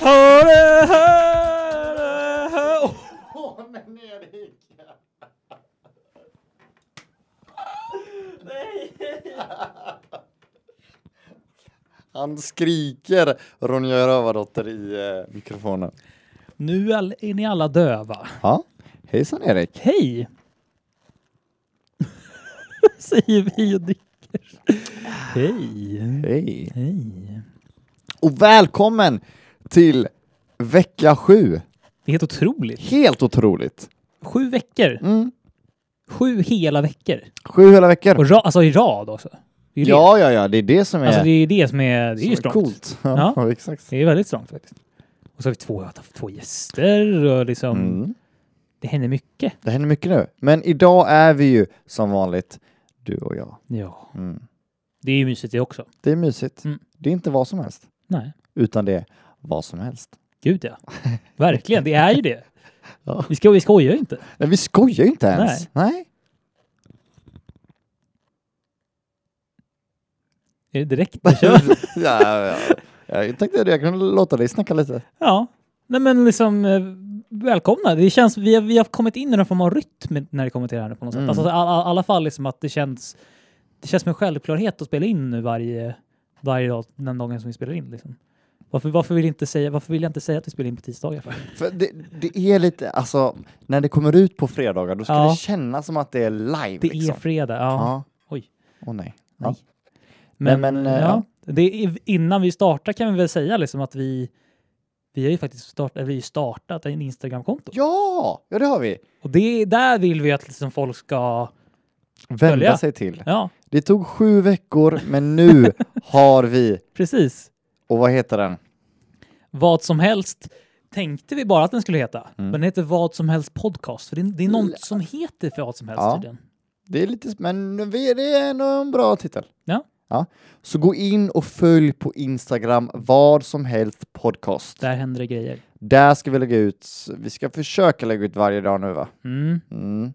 Hör det här, det här. Åh, Åh, men Erik! Han skriker Ronja Rövardotter i eh, mikrofonen. Nu all- är ni alla döva. Ja, hejsan Erik. Hej! Säger vi och nickar. Hej. Hej. Hej. Och välkommen till vecka sju. Det är helt otroligt. Helt otroligt. Sju veckor. Mm. Sju hela veckor. Sju hela veckor. Och ra- alltså i rad också. Det är ju Ja, ja, ja, det är det som det. är, Alltså det är det som är, det är ju som är strongt. coolt. Ja, Ja. exakt. Det är väldigt strongt faktiskt. Och så har vi två, haft två gäster och liksom, Mm. det händer mycket. Det händer mycket nu. Men idag är vi ju som vanligt du och jag. Ja. Mm. Det är ju mysigt det också. Det är mysigt. Mm. Det är inte vad som helst, Nej, utan det är vad som helst. gud ja. Verkligen, det är ju det. Ja. Vi, ska, vi skojar ju inte. Nej, vi skojar ju inte ens. Nej. Är det direkt vi kör? ja, ja, ja. Jag tänkte att jag kunde låta dig snacka lite. Ja. Nej men liksom, eh, välkomna. Det känns, vi har, vi har kommit in i någon form av rytm när det kommer till det här på något sätt. Mm. Alltså, all, all, alla fall liksom att det känns, det känns som en självklarhet att spela in nu varje, varje dag, den dagen som vi spelar in. Liksom. Varför, varför, vill jag inte säga, varför vill jag inte säga att vi spelar in på tisdagar? För? För det, det är lite, alltså, när det kommer ut på fredagar då ska Ja. det kännas som att det är live. Det liksom. är fredag. Ja. Ja. Oj. Åh nej. Nej. Men- Men, men, eh, ja. ja. Det är, innan vi startar kan vi väl säga liksom att vi, vi har ju faktiskt start, eller vi har ju startat en Instagram-konto. Ja! Ja, det har vi. Och det, är- där vill vi att liksom folk ska... Vända Följa. sig till. Ja, Det tog sju veckor, men nu har vi, precis. och vad heter den? Vad som helst tänkte vi bara att den skulle heta. Mm. Men den heter Vad som helst podcast. För det, är- det är något som heter för vad som helst Ja. tydligen. Det är lite, men vi- det är ändå en bra titel. Ja. ja. Så gå in och följ på Instagram, vad som helst podcast. Där händer det grejer. Där ska vi lägga ut, vi ska försöka lägga ut varje dag nu va? Mm, Mm.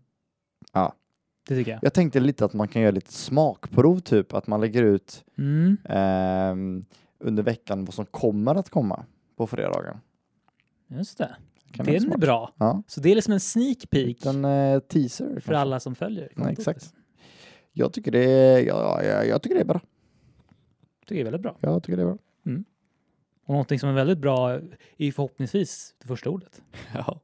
det tycker jag. Jag tänkte lite att man kan göra lite smakprov typ, att man lägger ut Mm. ehm, under veckan vad som kommer att komma på fredagen. Just det. Kan Den är smart? bra. Ja. Så det är liksom en sneak peek En eh, teaser. för kanske. alla som följer. Ja, kontot. exakt. Jag tycker det är, ja, ja, jag tycker det är bra. Tycker det är väldigt bra. Jag tycker det är bra. Och någonting som är väldigt bra är ju förhoppningsvis det första ordet. Ja.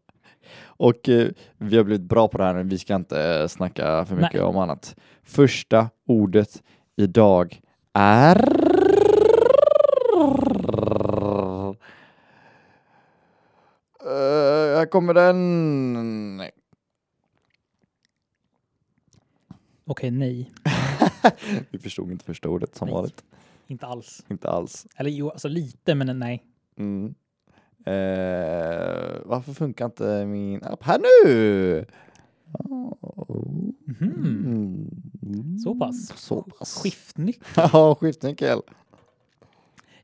Och eh, vi har blivit bra på det här nu, vi ska inte eh, snacka för mycket om annat. Första ordet idag är... Eh, här kommer den... Okej, nej. Vi förstod inte första ordet som Nej. vanligt. Inte alls. Inte alls. Eller jo, alltså lite, men nej. Mm. Eh, varför funkar inte min app här nu? Ja. Oh. Mhm. Mm. Så pass. Så pass. Skiftnyckel. Ja, skiftnyckel.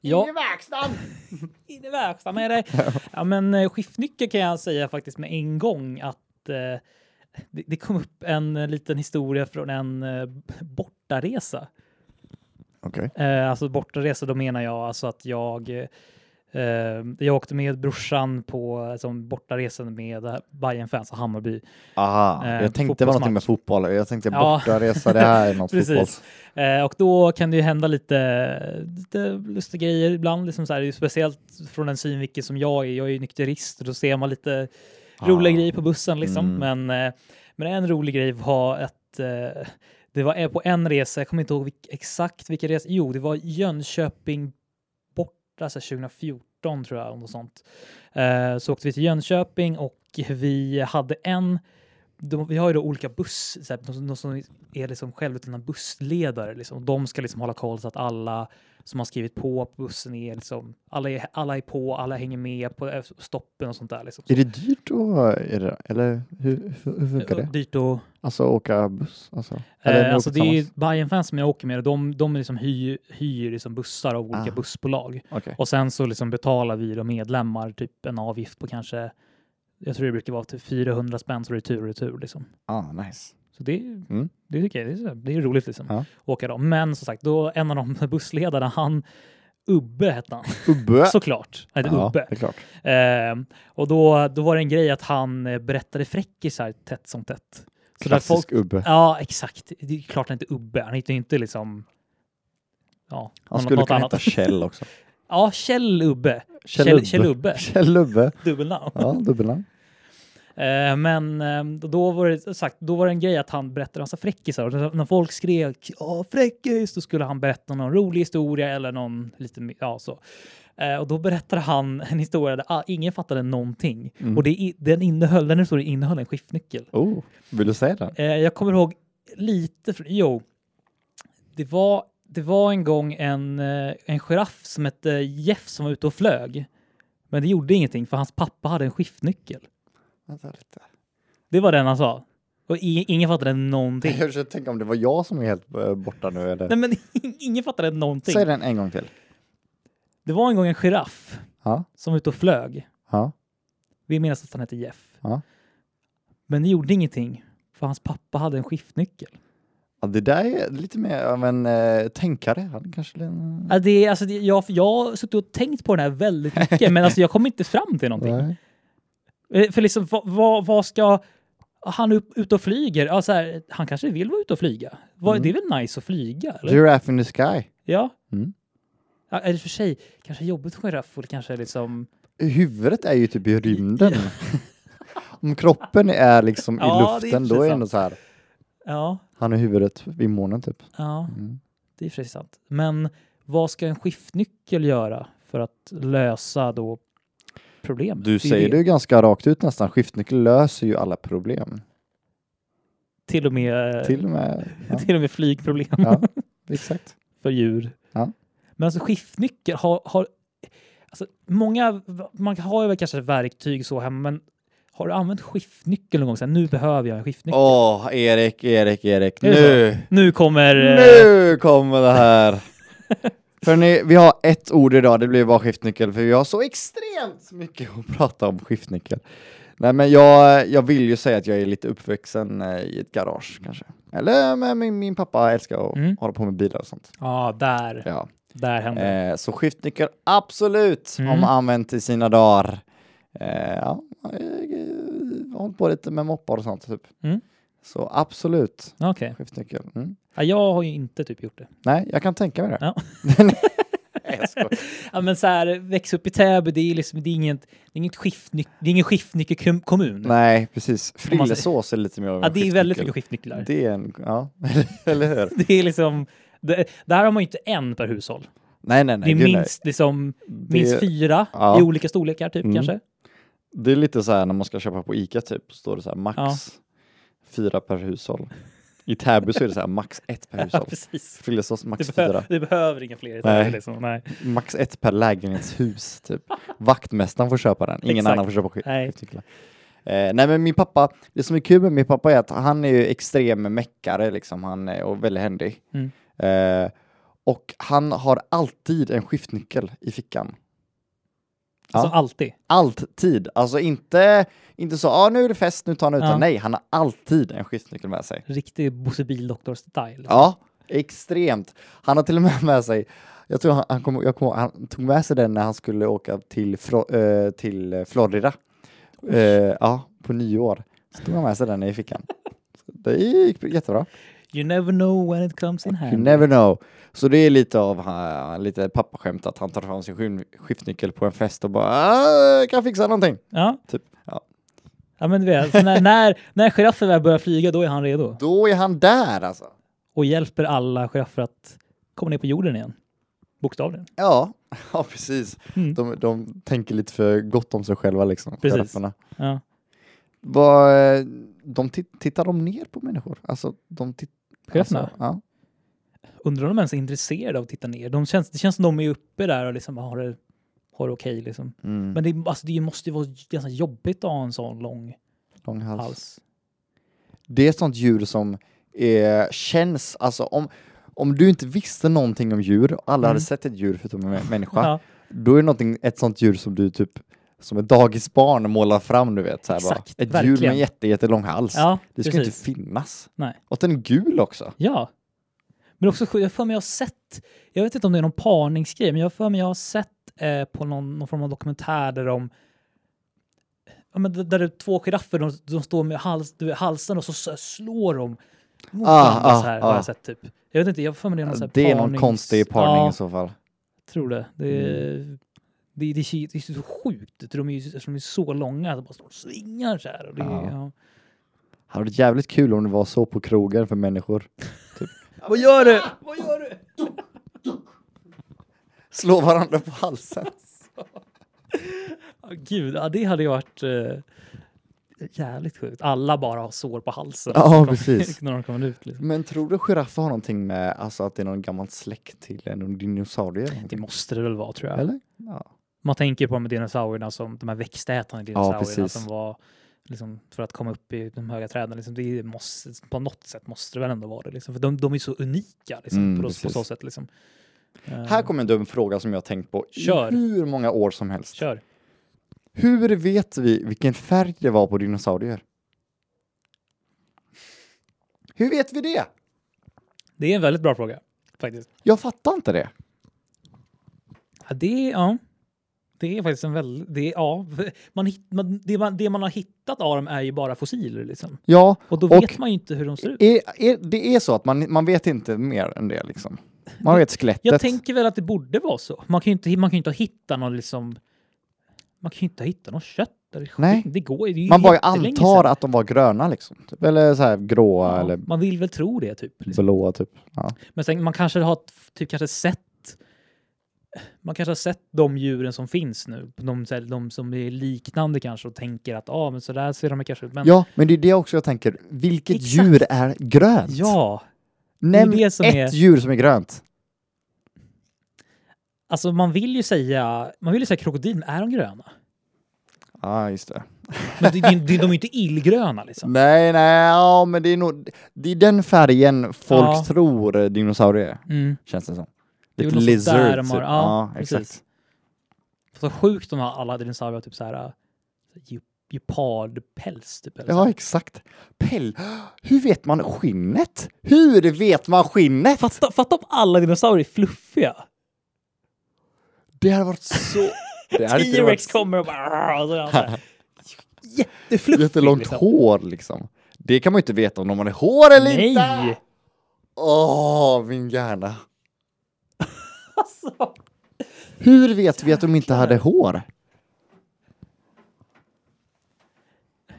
Ja, verkstaden! in i verkstaden med dig. Ja, men eh, skiftnyckel kan jag säga faktiskt med en gång att eh, det, det kom upp en eh, liten historia från en eh, bortaresa. Okej. Eh, alltså bortaresa, då menar jag alltså att jag eh, eh, jag åkte med brorsan på eh, som bortaresan med eh, Bayern-fans och Hammarby. Aha, Eh, jag tänkte det var någonting med fotboll. Jag tänkte Ja. bortaresa, det här är något Precis. fotbolls... Eh, och då kan det ju hända lite, lite lustiga grejer ibland, liksom så här, det är ju speciellt från den synvinkel som jag är. Jag är ju nykterist och då ser man lite roliga Ah. grejer på bussen. Liksom. Mm. Men, eh, men en rolig grej var att eh, det var eh, på en resa, jag kommer inte ihåg vilk, exakt vilken resa, jo det var Jönköping borta så här 2014 18 tror jag, och sånt. Eh, så åkte vi till Jönköping och vi hade en de, vi har ju då olika buss, så här, de, de som är liksom självutnämnda bussledare. Liksom. De ska liksom hålla koll så att alla som har skrivit på på bussen är liksom, alla är, alla är på, alla hänger med på eh, stoppen och sånt där. Liksom. Är det dyrt att, är det, eller hur, hur hur funkar det? eh, Dyrt och, Alltså åka buss? Alltså, eller ni eh, alltså åker det är ju tillsammans? Bajenfans som jag åker med, de, de liksom hyr, hyr liksom bussar av olika Ah. bussbolag. Okej. Och sen så liksom betalar vi då medlemmar typ en avgift på kanske, jag tror det brukar vara typ 400 spänn så det är tur och retur. Liksom. Ah, nice. Så det, Mm. det tycker jag det är, så- det är roligt liksom. Ja. Åka dem. Men som sagt, då en av de bussledarna, han Ubbe hette han Ubbe! såklart. Han hette ja, Ubbe. det är klart. Ehm, och då, då var det en grej att han eh, berättade fräckisar tätt som tätt. Så där Klassisk folk, Ubbe. ja, exakt. Det är klart han inte är Ubbe. Han heter ju inte liksom... Ja, Han något- skulle något kunna annat. heta Kjell också. Ja, Kjell Ubbe. Kjell, Ubbe. Kjell Ubbe. Kjell Ubbe. Dubbelnamn. Ja, dubbelnamn. Eh, men ehm, då var det som sagt, då var det en grej att han berättade en massa fräckisar och när- när folk skrek "Ja, fräckis, då skulle han berätta någon rolig historia eller någon lite mer- ja så. Eh, och då berättade han en historia där ah, ingen fattade någonting och det, i- den innehöll, den historien innehöll en skiftnyckel. Oh, vill du säga den? Eh, jag kommer ihåg lite, fr- jo, det var, det var en gång en, eh, en giraff som hette Jeff som var ute och flög. Men det gjorde ingenting för hans pappa hade en skiftnyckel. Vänta lite. Det var den han sa. Och i- ingen fattade någonting. Jag försöker tänka om det var jag som är helt eh, borta nu eller? Nej, men ingen fattade någonting. Säg den en gång till. Det var en gång en giraff Ja, som var ute och flög. ja. Vi minns att han hette Jeff. Ja. Men det gjorde ingenting, för hans pappa hade en skiftnyckel. ja det där är lite mer av en eh, tänkare. Han kanske... En... Ja, det, är- alltså, det, jag, jag har suttit och tänkt på den här väldigt mycket, men alltså, jag kom inte fram till någonting. Nej. Eh, För liksom, vad, vad, vad ska... Han är upp, ute och flyger. Ja, så här, han kanske vill vara ute och flyga. Vad, Mm. Det är väl nice att flyga? Eller? Giraffe in the sky. Ja. Mm. ja. Eller för sig, kanske jobbigt för en giraff och det kanske är liksom... Huvudet är ju typ i rymden. om kroppen är liksom i Ja, det är luften, precis då är det sant. ändå så här. Ja, Han har huvudet i månen typ. ja. Mm. Det är i och för sig sant. Men vad ska en skiftnyckel göra för att lösa då problemet? Du Det är säger det. det ju ganska rakt ut nästan. Skiftnyckel löser ju alla problem. Till och med, till, Till och med... Ja, och med flygproblem ja exakt. för djur. Ja. Men alltså skiftnyckel har... har alltså, många, man har ju väl kanske verktyg så hemma, men har du använt skiftnyckel någon gång? Så här, nu behöver jag en skiftnyckel. Åh, Erik, Erik, Erik. Är det Nu! Nu kommer... eh, Nu kommer det här! För ni, vi har ett ord idag, det blir bara skiftnyckel, för vi har så extremt mycket att prata om skiftnyckel. Nej men jag, jag vill ju säga att jag är lite uppvuxen eh, i ett garage kanske. Eller men min, min pappa älskar att Mm. hålla på med bilar och sånt. Ja, där. Ja. Där händer det. Eh, så skiftnyckel, absolut, Mm. om använt i sina dagar. Eh, ja, jag eh, har hållit på lite med moppar och sånt typ. Mm. Så absolut, Okej. skiftnyckel. Mm. Ja, jag har ju inte typ gjort det. Nej, jag kan tänka mig det. Ja. Nej, jag skojar. Ja, men så här, växa upp i Täby, det är, liksom, det är, inget, det är, inget skiftnyc- det är ingen skiftnyckelkommun. Nej, precis. Om man säger- Frillesås är lite mer av en Ja, det är väldigt mycket skiftnyckel. skiftnycklar. Det, Det är en, ja, eller hur? är liksom, det, där har man ju inte en per hushåll. Nej, nej, nej. det gud, är nej. minst, liksom, minst Det- fyra Ja. i olika storlekar typ Mm. kanske. Det är lite så här när man ska köpa på Ica typ, så står det så här max Ja. fyra per hushåll. I Täby så är det så här max ett per Ja, hushåll. precis. Frillesås max Det, behö- fyra. det behöver inga fler. i Nej. Täby, Liksom. Nej. Max ett per lägenhetshus typ. Vaktmästaren får köpa den, ingen Exakt. annan får köpa sk- Nej. skiftnycklar. Eh, nej men min pappa, det som är kul med min pappa är att han är ju extrem meckare liksom, han är och väldigt händig. Mm. Eh, och han har alltid en skiftnyckel i fickan. Ja. Alltså alltid. Alltid, alltså inte, inte så, ah, nu är det fest, nu tar han ut den. Ja. Nej, han har alltid en skiftnyckel med sig. Riktig Bosse Bildoktor-style. Ja, extremt. Han har till och med med sig, jag tror han, han, kom, jag kom, han tog med sig den när han skulle åka till, Fro, eh, till eh, Florida. Eh, ja, på nyår. Så tog han med sig den i fickan. Så Det gick jättebra. You never know when it comes in You hand. never know. Så det är lite av eh, lite pappaskämt att han tar fram sin skyn- skiftnyckel på en fest och bara "Ah, jag kan fixa någonting. Ja. Typ. Ja. ja, men du vet, så när, när, när giraffen väl börjar flyga, då är han redo. Då är han där alltså. Och hjälper alla giraffer att komma ner på jorden igen. Bokstavligen. Ja, ja precis. Mm. De, de tänker lite för gott om sig själva liksom. Precis. Precis. Ja. Vad, eh, de tit- tittar de ner på människor? Alltså, de tit- Cheferna? Alltså, ja. Undrar om de ens är intresserade av att titta ner. De känns, det känns som de är uppe där och liksom har det, har det okej. liksom. Mm. Men det, alltså, det måste ju vara ganska jobbigt att ha en sån lång Lång hals. hals. Det är ett sånt djur som eh, känns, alltså om, om du inte visste någonting om djur, och alla hade Mm. sett ett djur förutom en mä- människa, Ja, då är det någonting, ett sånt djur som du typ som ett dagisbarn målar fram, du vet. Så här bara. Exakt, Ett djur med verkligen. en jätte, jättelång hals. ja det ska ju inte precis. finnas. Nej. Och den är gul också. Ja. Men också, jag har för mig jag har sett, jag vet inte om det är någon parningsgrej, men jag har för mig jag har sett eh, på någon, någon form av dokumentär där de Ja, men d- där det är två giraffer, de, de står med hals, du vet, halsen och så, så här slår de mot Ah, varandra ah, så här. ah. Har jag, sett, typ. jag vet inte, jag har för mig det är någon, så här Det är någon parnings- konstig parning Ja, i så Mm. fall. tror det. Det är, det, det, är, det är så sjukt, ut. de är, ju- eftersom de är så långa, de bara står och svingar så här. Och det, är- Ja. ja. Det hade varit jävligt kul om det var så på krogen för människor. Typ. Vad gör du? Vad gör du? Slå varandra på halsen. Ja, Gud, ja, det hade ju varit eh, jävligt sjukt. Alla bara har sår på halsen Ja, när de- precis. när de kommer ut. Liksom. Men tror du giraffer har någonting med alltså att det är någon gammal släkt till en dinosaurie? eller Det någonting? måste det väl vara tror jag. Eller? Ja. Man tänker på de här dinosaurierna som de här växtätande dinosaurierna precis. som var liksom, för att komma upp i de höga träden. Liksom, det måste, på något sätt måste det väl ändå vara det. Liksom. För de, de är så unika liksom, Mm, på, på precis. så sätt. Liksom. Eh, Här kommer en dum fråga som jag har tänkt på i Kör. hur många år som helst. Kör. Hur vet vi vilken färg det var på dinosaurier? Hur vet vi det? Det är en väldigt bra fråga faktiskt. Jag fattar inte det. Ja, det, är- ja. det är faktiskt en väldigt... Det, är- ja. man, hitt- man, det, man, det man har hittat av dem är ju bara fossiler. Liksom. Ja, Och då Och- vet man ju inte hur de ser ut. är, är, det är så att man, man vet inte mer än det liksom. Man vet skelettet. Jag tänker väl att det borde vara så. Man kan ju inte, man kan ju inte hitta någon liksom... Man kan ju inte hitta någon kött. Eller Nej. skit. Det går ju- det är ju man bara jättelänge antar sedan. att de var gröna liksom. Typ. Eller så här gråa Ja, eller Man vill väl tro det typ. Liksom. blåa typ. Ja. Men sen, man kanske har typ kanske sett... Man kanske har sett de djuren som finns nu. De, så här- de som är liknande kanske och tänker att ah, men så där ser de kanske ut. Men ja, men det är det också jag tänker. Vilket Exakt. djur är grönt? ja, Nämn det som ett är- djur som är grönt. alltså man vill ju säga... Man vill ju säga krokodil, men är de gröna? Ja, just det. Men det, det, de är ju inte illgröna liksom. Nej, nej, ja, men det är nog det är den färgen folk Ja. tror eh, dinosaurier är, Mm. känns det som. Det är Lite väl något sånt där lizard. de Typ. har- ja, precis. exakt. Så sjukt om alla dinosaurier typ så här ju- gepardpäls typ. Eller så. Ja, exakt. Päll. Hur vet man skinnet? Hur vet man skinnet? Fatta, fatta om alla dinosaurier är fluffiga. Det hade varit så... Det hade inte T-Rex varit kommer och bara... Och så är han så här, jättefluffig. jättelångt liksom. hår liksom. Det kan man ju inte veta om de har hår eller inte. Nej! Åh, min hjärna. Alltså, Hur vet vi att de inte hade hår?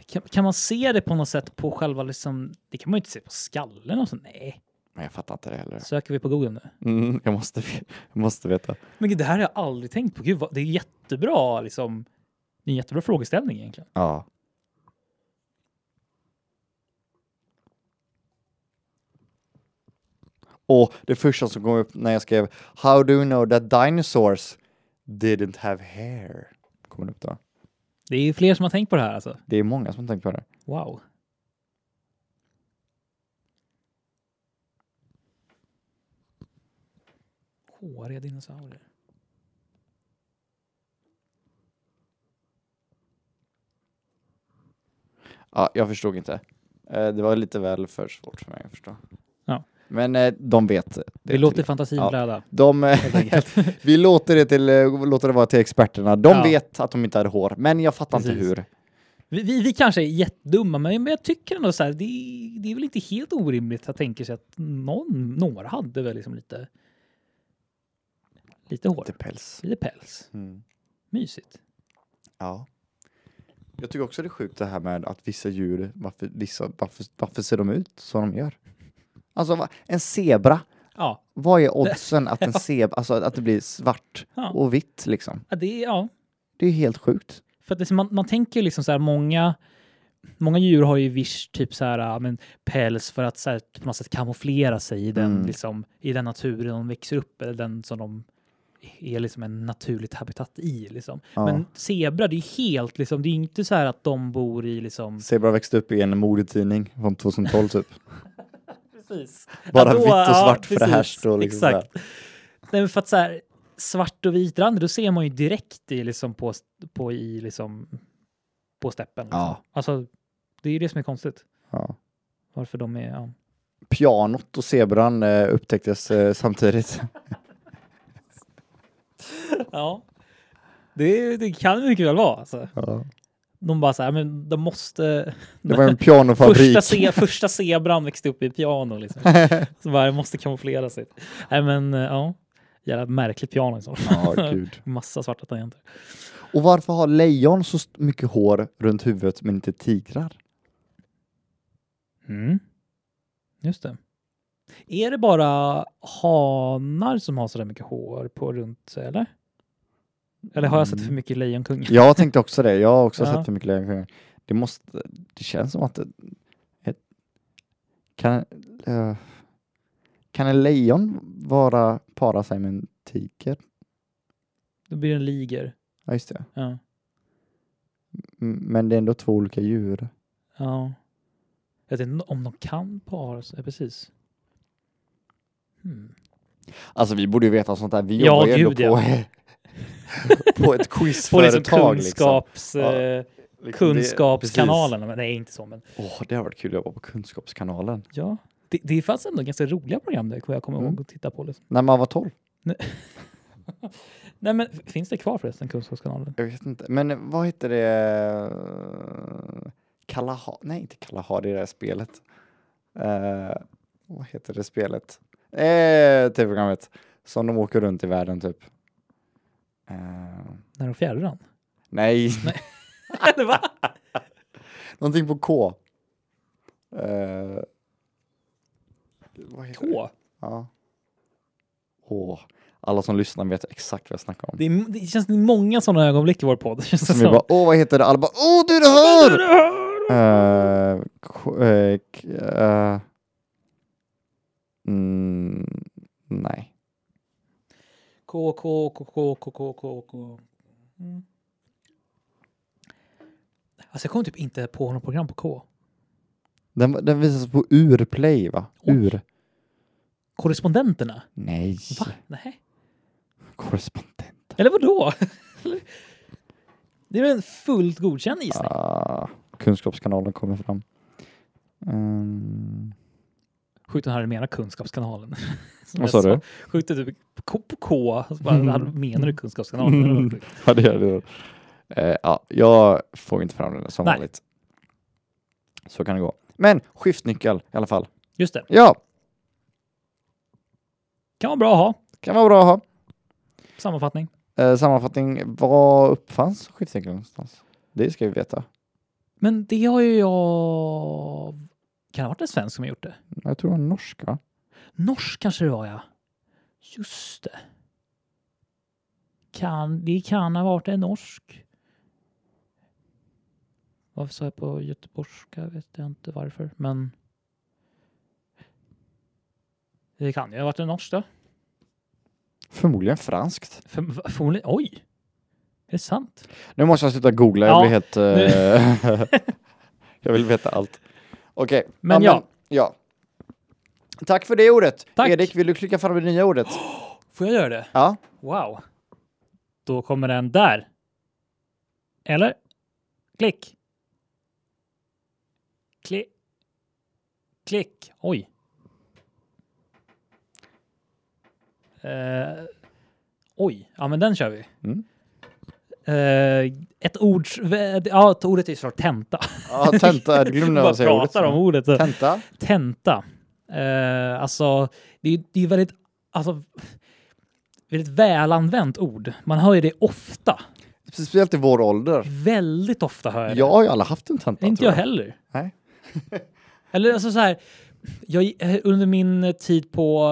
kan, kan man se det på något sätt på själva liksom... Det kan man ju inte se på skallen och så. Nej. Nej, jag fattar inte det heller. Söker vi på Google nu? Mm, jag, måste, jag måste veta. Men gud, det här har jag aldrig tänkt på. Gud, vad, det är jättebra liksom. Det är en jättebra frågeställning egentligen. Ja. Och det första som kom upp när jag skrev How do you know that dinosaurs didn't have hair? Kommer det upp då. Det är fler som har tänkt på det här alltså. Det är många som har tänkt på det. Wow. Håriga dinosaurier. Ja, jag förstod inte. Eh, Det var lite väl för svårt för mig att förstå. Ja. Men eh, de vet. Det Vi till- låter fantasin Ja. flöda. de, eh, helt enkelt. vi låter det, till, eh, låter det vara till experterna. De Ja. vet att de inte hade hår, men jag fattar inte Precis. hur. vi, vi, vi kanske är jättedumma, men men jag tycker ändå så här, det, det är väl inte helt orimligt att tänka sig att någon, några hade väl liksom lite, lite hår, Lite päls. lite päls. Typ. Mm. Mysigt. Ja. Jag tycker också det är sjukt det här med att vissa djur, varför, vissa, varför, varför ser de ut som de gör? Alltså va- en zebra, Ja, Vad är oddsen att, en zebra, alltså att det blir svart Ja. och vitt liksom? ja, det, ja Det är helt sjukt. För att det, man, man tänker ju liksom så här, många, många djur har ju viss typ så här, ja, men, päls för att så här, på något sätt kamouflera sig i den, Mm. liksom, i den naturen de växer upp eller den som de är liksom en naturligt habitat i. Liksom. Ja. Men zebra, det är ju helt liksom, det är ju inte så här att de bor i liksom... Zebra växte upp i en modetidning från 2012 typ. Precis. Bara vitt och svart fräscht och liksom Exakt. Nej, men för att så här, svart och vitrande, då ser man ju direkt i liksom på, på i liksom på steppen. Liksom. Ja. Alltså, det är ju det som är konstigt. Ja. Varför de är... Ja. Pianot och zebran eh, upptäcktes eh, samtidigt. ja. Det, det kan det mycket väl vara. Alltså. Ja. De bara så här, men de måste... Det var en första, pianofabrik. se, första zebran växte upp i piano liksom. Så bara, jag måste kamouflera sig. Nej men, eh, ja. Jävla märkligt piano liksom. Ja, gud. Massa svarta tangenter. Och varför har lejon så st- mycket hår runt huvudet men inte tigrar? Mm. Just det. Är det bara hanar som har så där mycket hår på runt sig, eller? Eller har jag sett Mm. för mycket Lejonkungen? Jag tänkte också det. Jag har också Ja. sett för mycket lejonkungen. Det måste... Det känns som att... Det, ett, kan, eh, kan en lejon vara, para sig med en tiger? Då blir det en liger. Ja, just det. Ja. Mm, Men det är ändå två olika djur. Ja. Jag vet inte om de kan para sig. Ja, precis. Hmm. Alltså vi borde ju veta sånt där. Vi Ja, jobbar ju ändå gud, ja. på, på ett På liksom quizföretag. liksom. kunskaps, Ja, eh, Liksom, det- kunskapskanalerna. Men nej, inte så. Men precis. Åh, det har varit kul att jobba på Kunskapskanalen. ja. Det, det fanns ändå ganska roliga program där kommer jag kommer Mm. ihåg att titta på. Liksom. När man var 12. Nej, men f- finns det kvar förresten, Kunskapskanalen? Jag vet inte. Men vad heter det? Kalaha... Nej, inte Kalaha, det är det här spelet. Eh, vad heter det spelet? Eh, Tv-programmet. Som de åker runt i världen typ. Eh, När de fjärran? nej, Eller va? någonting på K. Eh, vad heter det? K? Ja. Åh, alla som lyssnar vet exakt vad jag snackar om. Det, är, det känns som det är många sådana ögonblick i vår podd. Känns det Som vi som. bara, åh vad heter det? Alla bara, åh du det Vad här! är det här? Eh, k- eh, k- eh, mm, nej. K, K, K, K, K, K, K, K. Mm. Alltså jag kommer typ inte på något program på K. Den, den visas på Urplay va? Oj. Ur? Korrespondenterna? Nej. Va? Nej. Korrespondent. Eller vadå? Eller- det är väl en fullt godkänd gissning? Ah, kunskapskanalen kommer fram. Um, Sjukt att han hade menat Kunskapskanalen. Som vad jag sa du? Mm. Sjukt att du K på K, och så bara, han menar du Kunskapskanalen? typ? Det var sjukt. ja, det gör det. Eh, ja, jag får inte fram den som Nej. vanligt. Så kan det gå. Men skiftnyckel i alla fall. Just det, Ja, kan vara bra att ha. kan vara bra att ha. Sammanfattning. Eh, sammanfattning, vad uppfanns skiftnyckeln någonstans? Det ska vi veta. Men det har ju jag... Kan det ha varit en svensk som har gjort det? Jag tror det var norsk va? Norsk kanske det var, ja. Just det. Kan, det kan ha varit en norsk. Varför sa jag på göteborgska? Vet jag inte varför, men. Det kan ju ha varit en norsk då. Förmodligen franskt. För- Förmodligen. Oj! Är det sant? Nu måste jag sluta googla, jag Ja, blir helt... eh, jag vill veta allt. Okej. Men ja. ja. Tack för det ordet. Tack. Erik, vill du klicka fram det nya ordet? Får jag göra det? ja. Wow. Då kommer den där. Eller? Klick. Klick. Klick. Oj. Eh, oj, ja men den kör vi. Mm. Eh, ett ord, ja ett ordet är ju såklart tenta. ja, tenta. Jag glömde Bara vad säga ordet. pratar om ordet. så- Tenta. Tenta. Eh, alltså, det är det är väldigt, alltså, väldigt välanvänt ord. Man hör ju det ofta. Speciellt i vår ålder. Väldigt ofta hör jag det. Jag har ju aldrig haft en tenta. Inte tror jag heller. Nej. Eller alltså så här, jag, under min tid på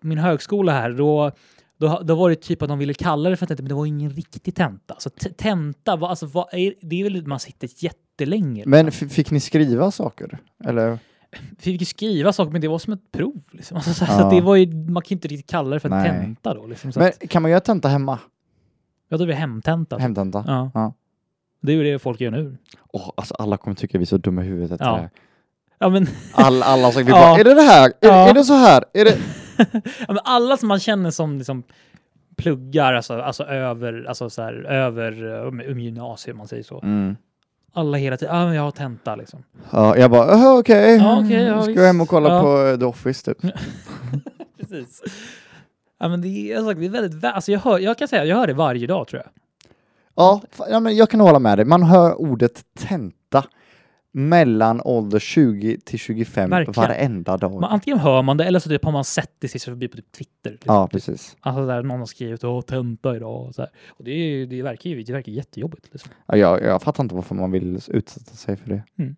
min högskola här, då, då, då var det typ att de ville kalla det för tenta, men det var ingen riktig tenta. Så t- tenta, vad, alltså, vad är, det är väl att man sitter jättelänge. Men f- fick ni skriva saker? Eller? Vi fick ju skriva saker, men det var som ett prov. Liksom. Alltså, så här, Ja. så att det var ju, man kan ju inte riktigt kalla det för Nej. tenta då. Liksom, så Men att, kan man göra tenta hemma? ja, då är det hemtenta. Hemtenta? Ja. Ja. Det är ju det folk gör nu. Åh, alltså alla kommer tycka vi är så dumma i huvudet efter Ja. det här. Ja, men, All, alla saker vi Ja. bara, är det det här? Är, Ja. är det så här? Är det... ja, men alla som man känner som liksom, pluggar, alltså, alltså över, alltså, så här, över eh, um, gymnasiet, om man säger så. Alla hela tiden, ja, men jag har tenta liksom. Ja, jag bara, "Aha, okej. Ja, okej, ja, Ska visst. jag hem och kolla Ja. på eh, The Office typ. Precis. Ja, men det, är, jag sagt, det är väldigt, vä- alltså jag, hör, jag kan säga jag hör det varje dag tror jag. Ja, fa- ja men jag kan hålla med dig. Man hör ordet tenta mellan ålder 20 till 25 Verkligen. varenda dag. Man, antingen hör man det eller så typ har man sett det sist förbi på typ Twitter. Liksom. Ja, precis. Alltså där någon har skrivit åh tenta idag och så här. Och det, är, ju- det, verkar ju, det verkar ju jättejobbigt. Liksom. Ja, jag, jag fattar inte varför man vill utsätta sig för det. Mm.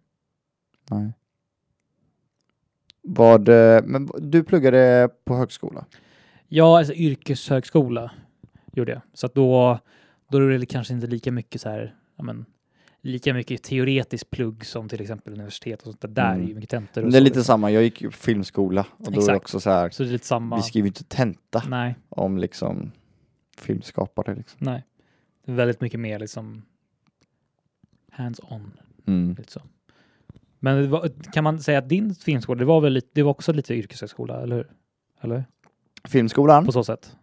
Nej. Vad, eh, men du pluggade på högskola? Ja, alltså yrkeshögskola gjorde jag. Så att då, då är det kanske inte lika mycket så här, ja, men, lika mycket teoretiskt plugg som till exempel universitet och sånt där. Där Mm. är ju mycket tentor och Det är så, lite liksom. samma, jag gick ju på filmskola och då är det Exakt. också så här, Så det är lite samma. vi skriver ju inte tenta Nej, om liksom filmskapare liksom. nej. Det är väldigt mycket mer liksom hands-on. Mm. Lite så. Men det var, kan man säga att din filmskola, det var väl lite, det var också lite yrkeshögskola, eller hur? Eller? Mm. Filmskolan? På så sätt.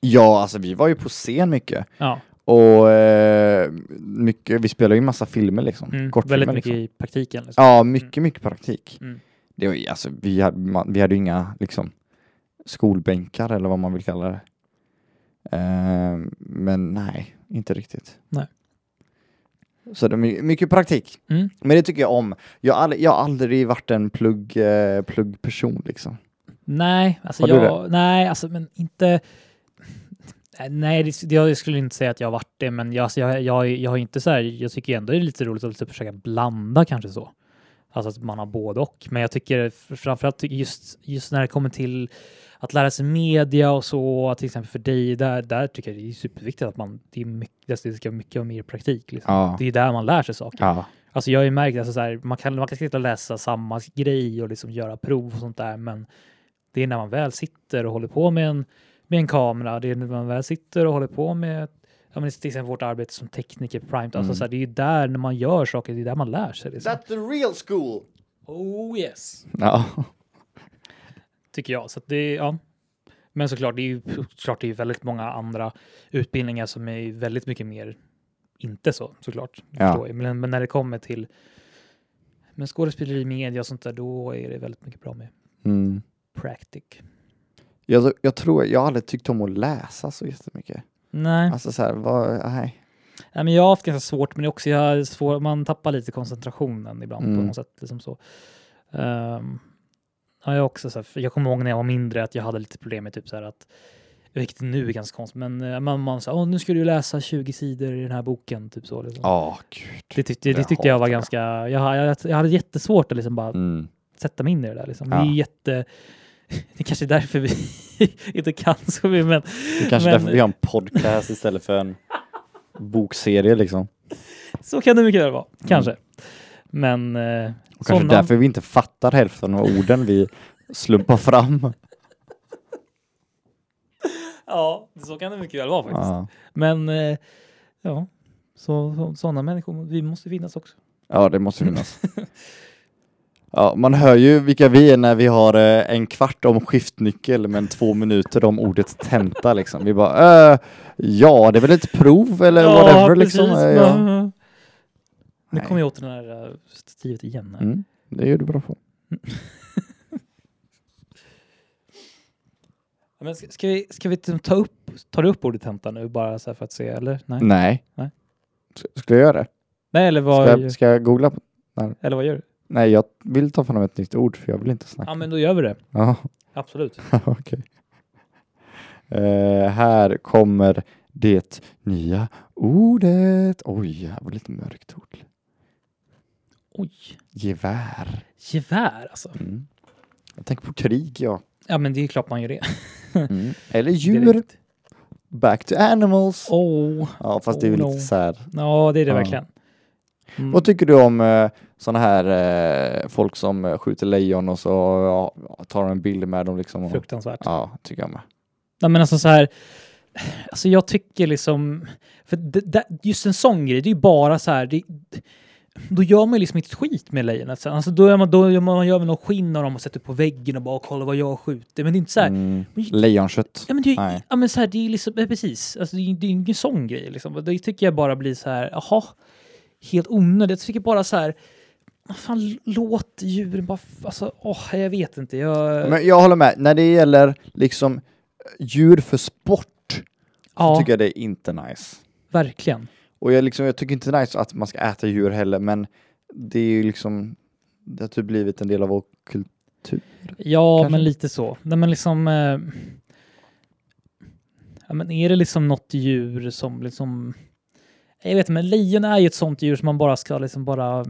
Ja, alltså vi var ju på scen mycket. Ja, Och eh, mycket, vi spelade ju massa filmer liksom. mm. Kortfilmer väldigt mycket liksom. i praktiken. Liksom. Ja, mycket, mycket praktik. Mm. Det var, ju- alltså, vi, hade, man, vi hade ju inga liksom, skolbänkar eller vad man vill kalla det. Eh, men nej, inte riktigt. Nej. Så det är my- mycket praktik. Mm. Men det tycker jag om. Jag har aldrig, jag har aldrig varit en plugg, eh, pluggperson liksom. Nej, alltså Har du jag, nej, alltså men inte... Nej, det, det- jag skulle inte säga att jag har varit det, men jag, alltså, jag, jag, jag har inte så här, jag tycker ändå det är lite roligt att lite försöka blanda kanske så. Alltså att man har både och. Men jag tycker f- framförallt tycker just, just när det kommer till att lära sig media och så, till exempel för dig, där, där tycker jag det är superviktigt att man, det, är mycket, alltså, det ska mycket mer praktik. Liksom. Ja. Det är där man lär sig saker. ja. Alltså jag har ju märkt alltså så här, man kan, man kan sitta och läsa samma grej och liksom göra prov och sånt där, men det är när man väl sitter och håller på med en, med en kamera, det är när man väl sitter och håller på med ja, men till exempel vårt arbete som tekniker på Prime, alltså Mm. så här, det är ju där när man gör saker, det är där man lär sig. Liksom. That's the real school! Oh yes! Ja. Tycker jag. Så att det, ja. Men såklart, det är ju såklart, det är ju väldigt många andra utbildningar som är väldigt mycket mer inte så såklart. Ja. förstår jag. Men, men när det kommer till men skådespeleri, media och sånt där, då är det väldigt mycket bra med Mm. practic. Jag, jag tror, jag har aldrig tyckt om att läsa så jättemycket. Nej, Alltså så här, vad, nej. Nej, men jag har haft ganska svårt, men det är också jag har svår, man tappar lite koncentrationen ibland på Mm. något sätt. Liksom så. Ehm, ja, jag, är också så här, för jag kommer ihåg när jag var mindre att jag hade lite problem med typ så här att, vilket nu är ganska konstigt, men eh, man, man sa "Åh, nu ska du läsa 20 sidor i den här boken. Typ så, liksom. Ja, gud. det, tyckte, det jag tyckte jag var hatar det. ganska, jag, ha- jag, jag hade jättesvårt att liksom bara Mm. sätta mig in i det där. Liksom. Det Ja. är jätte, det är kanske är därför vi inte kan så mycket, men Det är kanske Men- därför vi har en podcast istället för en bokserie liksom. Så kan det mycket väl vara, kanske. Men eh, Mm. Och kanske sådana- därför vi inte fattar hälften av orden vi slumpar fram. Ja, så kan det mycket väl vara faktiskt. Ja, Men eh, ja, så, så, sådana människor, vi måste finnas också. ja det måste finnas. Ja, man hör ju vilka vi är när vi har eh, en kvart om skiftnyckel men två minuter om ordet tenta liksom. Vi bara eh, ja, det är väl ett prov eller whatever liksom. Eh, ja. men- Nu Nej. kommer jag åt det här eh, stativet igen. här. Mm, det är du bra på. Ja, Men ska, ska vi, ska vi t- ta upp, tar du upp ordet tenta nu bara så här för att se eller? Nej, Nej. Nej. S- Ska jag göra det? Nej eller, vad, Ska jag, ska jag googla? På? eller vad gör du? Nej, jag vill ta fram ett nytt ord för jag vill inte snacka. Ja men då gör vi det, Ja. absolut. Okej. Eh, här kommer det nya ordet. Oj, det här var lite mörkt ord. Oj, Gevär. gevär alltså. Mm. Jag tänker på krig, ja. Ja, men det är klart man gör det. Mm. Eller djur. Direkt. Back to animals. Oh, Ja, fast det är ju Oh, lite no. så här. ja, det är det Ja. verkligen. Mm. Vad tycker du om eh, sådana här eh, folk som eh, skjuter lejon och så ja, tar de en bild med dem liksom? Och, Fruktansvärt. ja, tycker jag med. Nej, men alltså så här, alltså jag tycker liksom, för det, det, just en sån grej, det är ju bara så här, det, då gör man ju liksom inte ett skit med lejonet sen. Alltså då, är man, då gör man, man gör väl någon skinn av dem och sätter på väggen och bara kolla vad jag skjuter. Men det är inte så här, Mm. Lejonkött. ja men det är ju, Mm. Nej. ja, men så här, det är liksom, ja, precis, alltså det är, det är ingen sån grej liksom. Och Det tycker jag bara blir så här, jaha, helt onödigt. Jag tycker bara så här, vad fan, låt djuren bara, f- alltså, åh, jag vet inte. Jag, Men jag håller med, när det gäller liksom djur för sport ja, tycker jag det är inte nice. verkligen. Och jag, liksom, jag tycker inte det är nice att man ska äta djur heller, men det är ju liksom, det har typ blivit en del av vår kultur. Ja, Kanske. men lite så. Nej, men liksom... Eh, ja, men är det liksom något djur som liksom... Jag vet inte, men lejon är ju ett sånt djur som man bara ska liksom bara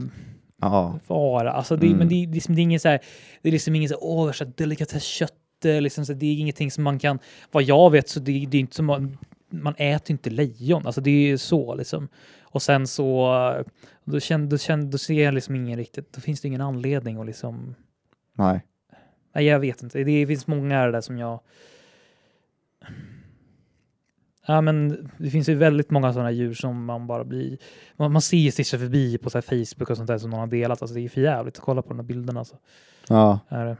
Ja. vara. Alltså det, Mm. men det, är liksom, det är ingen så här, det är liksom ingen så här, åh, värsta delikatesskött. eh, Liksom, så det är ingenting som man kan, vad jag vet så det, det är inte som man, man äter inte lejon. Alltså det är ju så liksom. Och sen så, eh, då, känn, då, känn, då ser jag liksom ingen riktigt, då finns det ingen anledning att liksom Nej. Nej, jag vet inte. Det finns många där som jag... Ja, men det finns ju väldigt många sådana djur som man bara blir... Man, man ser ju sig förbi på så här Facebook och sånt där som någon har delat. Alltså, det är för jävligt att kolla på de här bilderna. Alltså. Ja. Är det.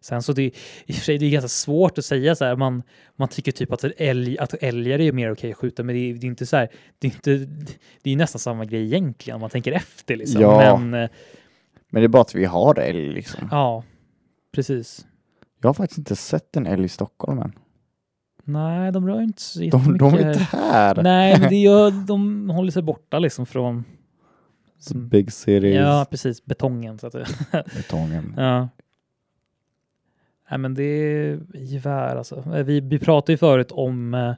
Sen så det, i och för sig, det är ganska svårt att säga så här. Man, man tycker typ att, älg, att älgar är mer okej att skjuta, men det är, det är inte så här. Det är, inte, det är nästan samma grej egentligen om man tänker efter. Liksom. Ja. Men eh, Men det är bara att vi har älg liksom. ja, precis. Jag har faktiskt inte sett en älg i Stockholm än. Nej, de rör inte så De, de jättemycket. är inte här. Nej, men det gör, de håller sig borta liksom från... som- Big cities, ja, precis. Betongen. Så att, det- betongen. ja. Nej, men det är gevär alltså. Eh, Vi, vi pratade ju förut om... eh,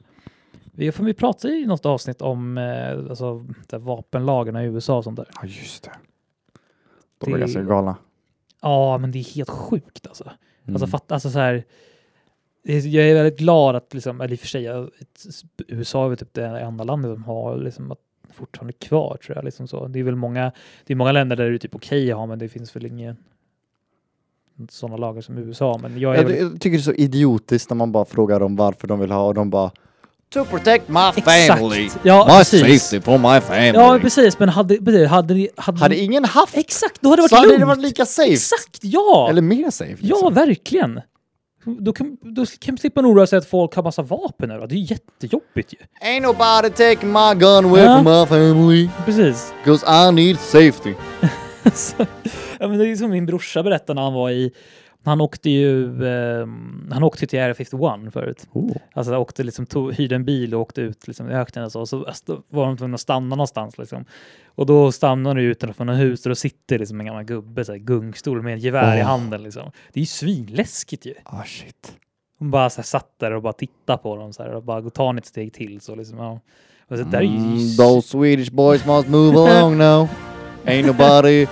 Vi, för vi pratade i något avsnitt om eh, alltså, där vapenlagarna i USA och sånt där. Ja, just det. De blir Det- ganska galna. Ja, men det är helt sjukt alltså. Mm. Alltså, fatt, alltså så här, jag är väldigt glad att, liksom, eller i och för sig, jag- USA är väl typ det enda landet som har liksom, att fortfarande kvar tror jag. Liksom så. Det är väl många, det är många länder där det är typ okej att ha, men det finns väl ingen sådana lagar som USA. Men jag är jag, väl, jag tycker det är så idiotiskt när man bara frågar dem varför de vill ha och de bara To protect my family! exakt. Ja, My precis. safety for my family! Ja, precis. Men hade, precis, hade, ni- hade, Hade ni- ingen haft Exakt, då hade det så varit hade lugnt. det varit lika safe. Exakt, ja! Eller mer safe. Ja, liksom. verkligen. Då kan, då kan slippa man oroa sig att folk har massa vapen. Eller? Det är ju jättejobbigt ju. Ain't nobody taking my gun away Ja. from my family. Precis. Cause I need safety. Så, ja, men det är som min brorsa berättade när han var i... Han åkte ju ehm, han åkte till Area 51 förut. Alltså han åkte liksom, tog, hyrde en bil och åkte ut liksom, i öknen och så. Och så st- var de tvungna att stanna någonstans. Liksom. Och då stannar du utanför något hus och då sitter liksom en gammal gubbe så här, gungstol med ett gevär i Åh. handen. Liksom. Det är ju svinläskigt ju. Ah shit. Hon bara så här, satt där och bara tittade på dem så här, och bara tar ni ett steg till så liksom. Ja. Och så, där är ju, Mm, those Swedish boys must move along now. Ain't nobody.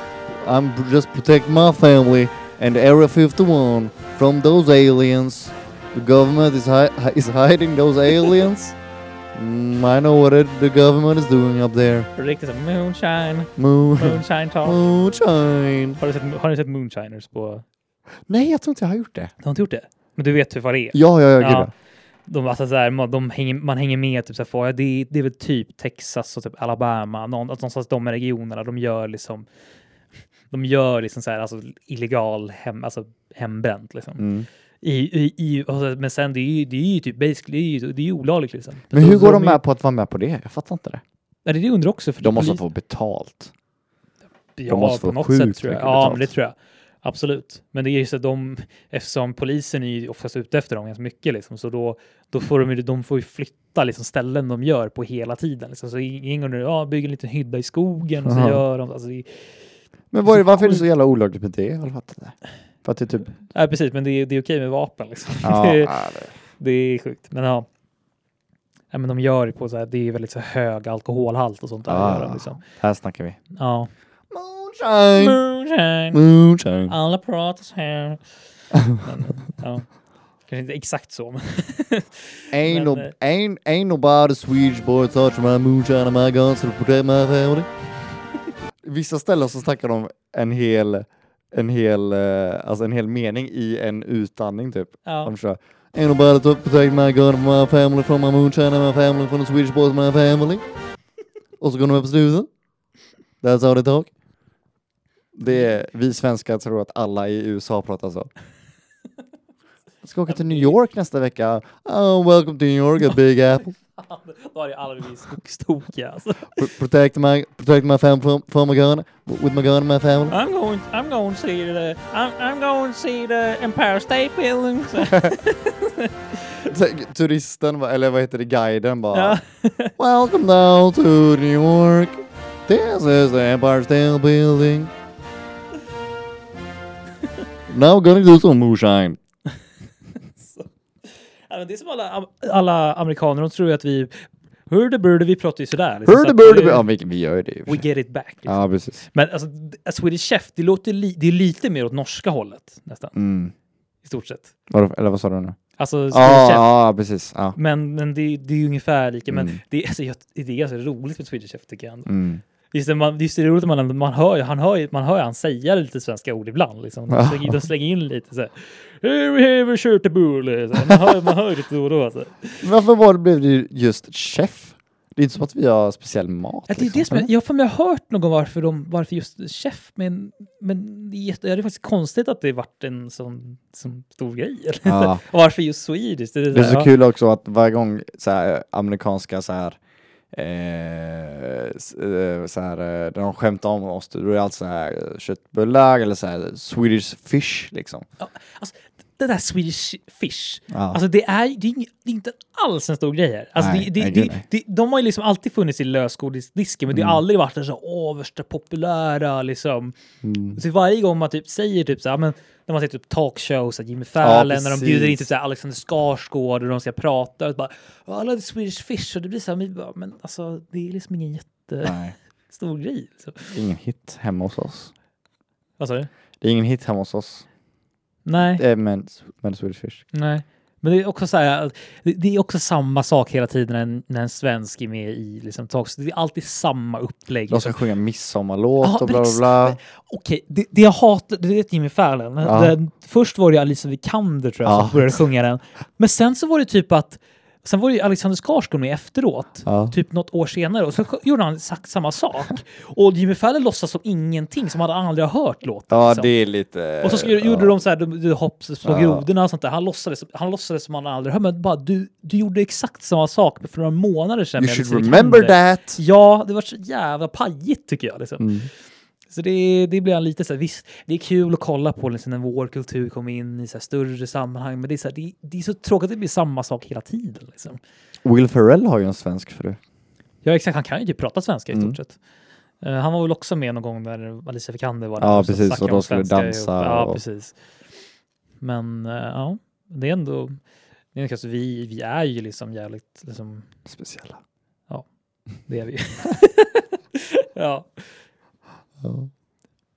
I'm pr- just protecting my family and Area 51 from those aliens. The government is, hi- hi- is hiding those aliens. Mm, I know what it, the government is doing up there. riktigt så här, moonshine, Moon. moonshine talk. Moonshine. Har du, sett, har du sett Moonshiners på Nej, jag tror inte jag har gjort det. Du har inte gjort det? Men du vet hur vad det är? Ja, ja, ja, gud, Ja. ja. De, alltså, så här, man, de hänger, man hänger med, typ, så här, får jag- det, är- det är väl typ Texas och typ Alabama, någon, alltså, någonstans de här regionerna, de gör liksom de gör liksom så här, alltså illegal hem, alltså hembränt liksom. Mm. I, i, i, alltså, men sen det är ju, det är ju typ basically, det är ju, det är ju olagligt liksom. Men hur Så går de är- med på att vara med på det? Jag fattar inte det. Ja, det är det jag undrar också. För De måste polis- få betalt. ja, måste på få något sjukt sätt tror jag. mycket Ja, betalt. men det tror jag. Absolut. Men det är ju så att de, eftersom polisen är ju oftast ute efter dem ganska mycket, liksom, så då, då får de, ju- de får ju flytta liksom, ställen de gör på hela tiden. Liksom. Så ingen undrar, ja, bygger en liten hydda i skogen och så Aha. gör de... Alltså, det, är- Men vad är, varför är det så jävla olagligt med det? Jag har fattat det. För att det är typ... nej, precis, men det, är- det är okej med vapen. Liksom. Ja, det, är det. Det är sjukt. Men ja. ja men de gör det på så här, det är väldigt så hög alkoholhalt och sånt där. Ah. Gör de, liksom. här snackar vi. ja. Moonshine! Moonshine. Moonshine. Alla pratar så här. Men, ja. Kanske inte exakt så, men Ain't, Men, no, eh, ain't, ain't nobody Swedish boy touch my moonshine and my guns to protect my family. Vissa ställen så snackar de en hel, en hel, eh, alltså en hel mening i en utandning typ. ja. De kör Ain't nobody to protect my gun and my family from my moonshine and my family from the Swedish boys and my family. Och så går de upp på slutet. That's how they talk. Det är, vi svenskar tror att alla i USA pratar så. Jag ska åka till New York nästa vecka. Oh, welcome to New York, a big apple. Då hade alla blivit skogstokiga. Alltså. Pr- Protect my, protect my family from, from my gun, with my gun and my family. I'm going, I'm going to see the, I'm, I'm going to see the Empire State Building. Så, T- Turisten, bara- eller vad heter det, guiden bara. ja. Welcome down to New York. This is the Empire State Building. Now gonna do some moonshine. Ja, men det är som alla, am- alla amerikaner, de tror ju att vi, hurdeburde, vi pratar ju sådär. liksom, så Hörde att, börde eh, Ja, vi, vi gör ju det i och för We sig. get it back. Liksom. Ja, precis. Men alltså, d- Swedish Chef, det, låter li, det är lite mer åt norska hållet nästan, Mm. i stort sett. Vadå, eller vad sa du nu? Alltså, Swedish Ja, Chef, ja, precis. Ja. men, men det, det är ju ungefär lika. Men Mm. det, är- alltså, jag, det är ganska roligt med Swedish Chef tycker jag. Ändå. Mm. Visst, är man, visst är det roligt att man, man hör ju- han hör ju- man hör ju han säga lite svenska ord ibland. Liksom. De, Ja. slänger, de slänger in lite så här. "Hur- hur kört det bulle?" Så här, Man hör, man hör ju lite då och då. Alltså. Men Varför var det, blev det just chef? Det är inte som att vi har speciell mat. liksom. Ja, det är det som jag, eller? jag har för mig hört någon gång varför, de, varför just chef, men, men det är jätte- det är faktiskt konstigt att det varit en sån, sån stor grej. Eller? Ja. Och varför just Swedish? Det är, Det är så ja, kul också att varje gång så här, eh, amerikanska så här, eh, s- eh, så här, eh, när de skämtar om oss, då är det alltid så här eh, köttbullar eller så här Swedish fish liksom. Alltså, det där Swedish fish, Ja. alltså det är, det, är, ing- det är inte alls en stor grej här. Alltså, Nej, det, det, nej, det, gud, nej. det, de har ju liksom alltid funnits i lösgodisdisken, men det har Mm. aldrig varit en så åh, värsta populära liksom. Mm. Så varje gång man typ säger typ så här, men när man ser typ talkshows, så här, Jimmy Fallon, när de precis. bjuder in typ så här, Alexander Skarsgård och de ska prata, och bara, "Ja, alla är Swedish fish, och det blir så här, men, vi bara, men alltså det är liksom ingen jättestor Nej, grej. Liksom. ingen hit hemma hos oss. Vad sa du? Det är ingen hit hemma hos oss. Nej. Det är men, men Swedish fish. Nej. Men det är också så här, att det- det är också samma sak hela tiden när en, när en svensk är med i liksom, talk. Så det är alltid samma upplägg. De ska Liksom. sjunga midsommarlåt Ja, och bla bla precis. bla. Okej, det, det jag hatar, det vet Jimmy Fallon. Ja. Den, först var det Alice Vikander tror jag Ja. som började sjunga den. Men sen så var det typ att, sen var det ju Alexander Skarsgård med efteråt. Ja. Typ något år senare och så gjorde han exakt samma sak. Och Jimmy Fallon låtsas som ingenting, som han aldrig har hört låten. Ja, liksom. det är lite... Och så skulle- gjorde de så här, de, de hopp, slog Ja. grodorna och sånt där. Han låtsades, han låtsades som han aldrig hört, men bara du, du gjorde exakt samma sak för några månader sedan. You med should Alice remember Vikander. that! Ja, det var så jävla pajigt tycker jag. Liksom. Mm. Så det, det blir han lite så här, visst, det är kul att kolla på liksom, när vår kultur kommer in i så här, större sammanhang, men det är, så här, det, det är så tråkigt att det blir samma sak hela tiden. Liksom. Will Ferrell har ju en svensk fru. Ja, exakt, han kan ju typ prata svenska i Mm. stort sett. Eh, han var väl också med någon gång när Alicia Vikander var Ja, och så precis, snackade och de om skulle svenska dansa ihop. Ja, och- precis. Men eh, ja, det är ändå... Det är kanske vi, vi är ju liksom jävligt... Liksom, Speciella. det är vi. ja. Ja.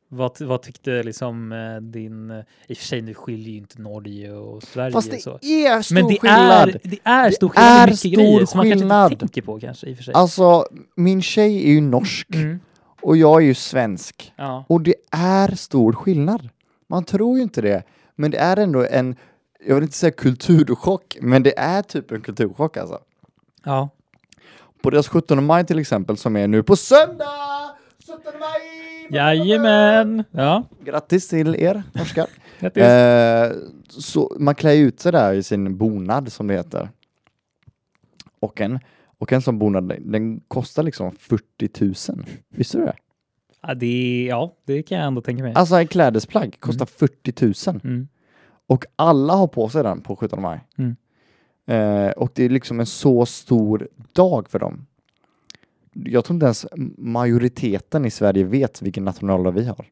Vad, vad tyckte liksom eh, din... eh, I och för sig, nu skiljer ju inte Norge och Sverige. Fast det så. är stor Men det skillnad. är, det är stor Det är skillnad. Det mycket stor grejer som man kanske skillnad. inte tänker på kanske i och för sig. Alltså, min tjej är ju norsk Mm. och jag är ju svensk. Ja. Och det är stor skillnad. Man tror ju inte det. Men det är ändå en, jag vill inte säga kulturchock, men det är typ en kulturchock alltså. ja. På deras 17 maj till exempel, som är nu på söndag! 17 maj! Jajamän! Ja. Grattis till er norskar. Grattis. eh, så man klär ut sig där i sin bonad som det heter. Och en, och en sån bonad, den kostar liksom 40 000. Visste du det? Ja, det, ja, det kan jag ändå tänka mig. Alltså en klädesplagg kostar 40 000 Mm. och alla har på sig den på 17 maj. Mm. Eh, och det är liksom en så stor dag för dem. Jag tror inte ens majoriteten i Sverige vet vilken nationaldag vi har.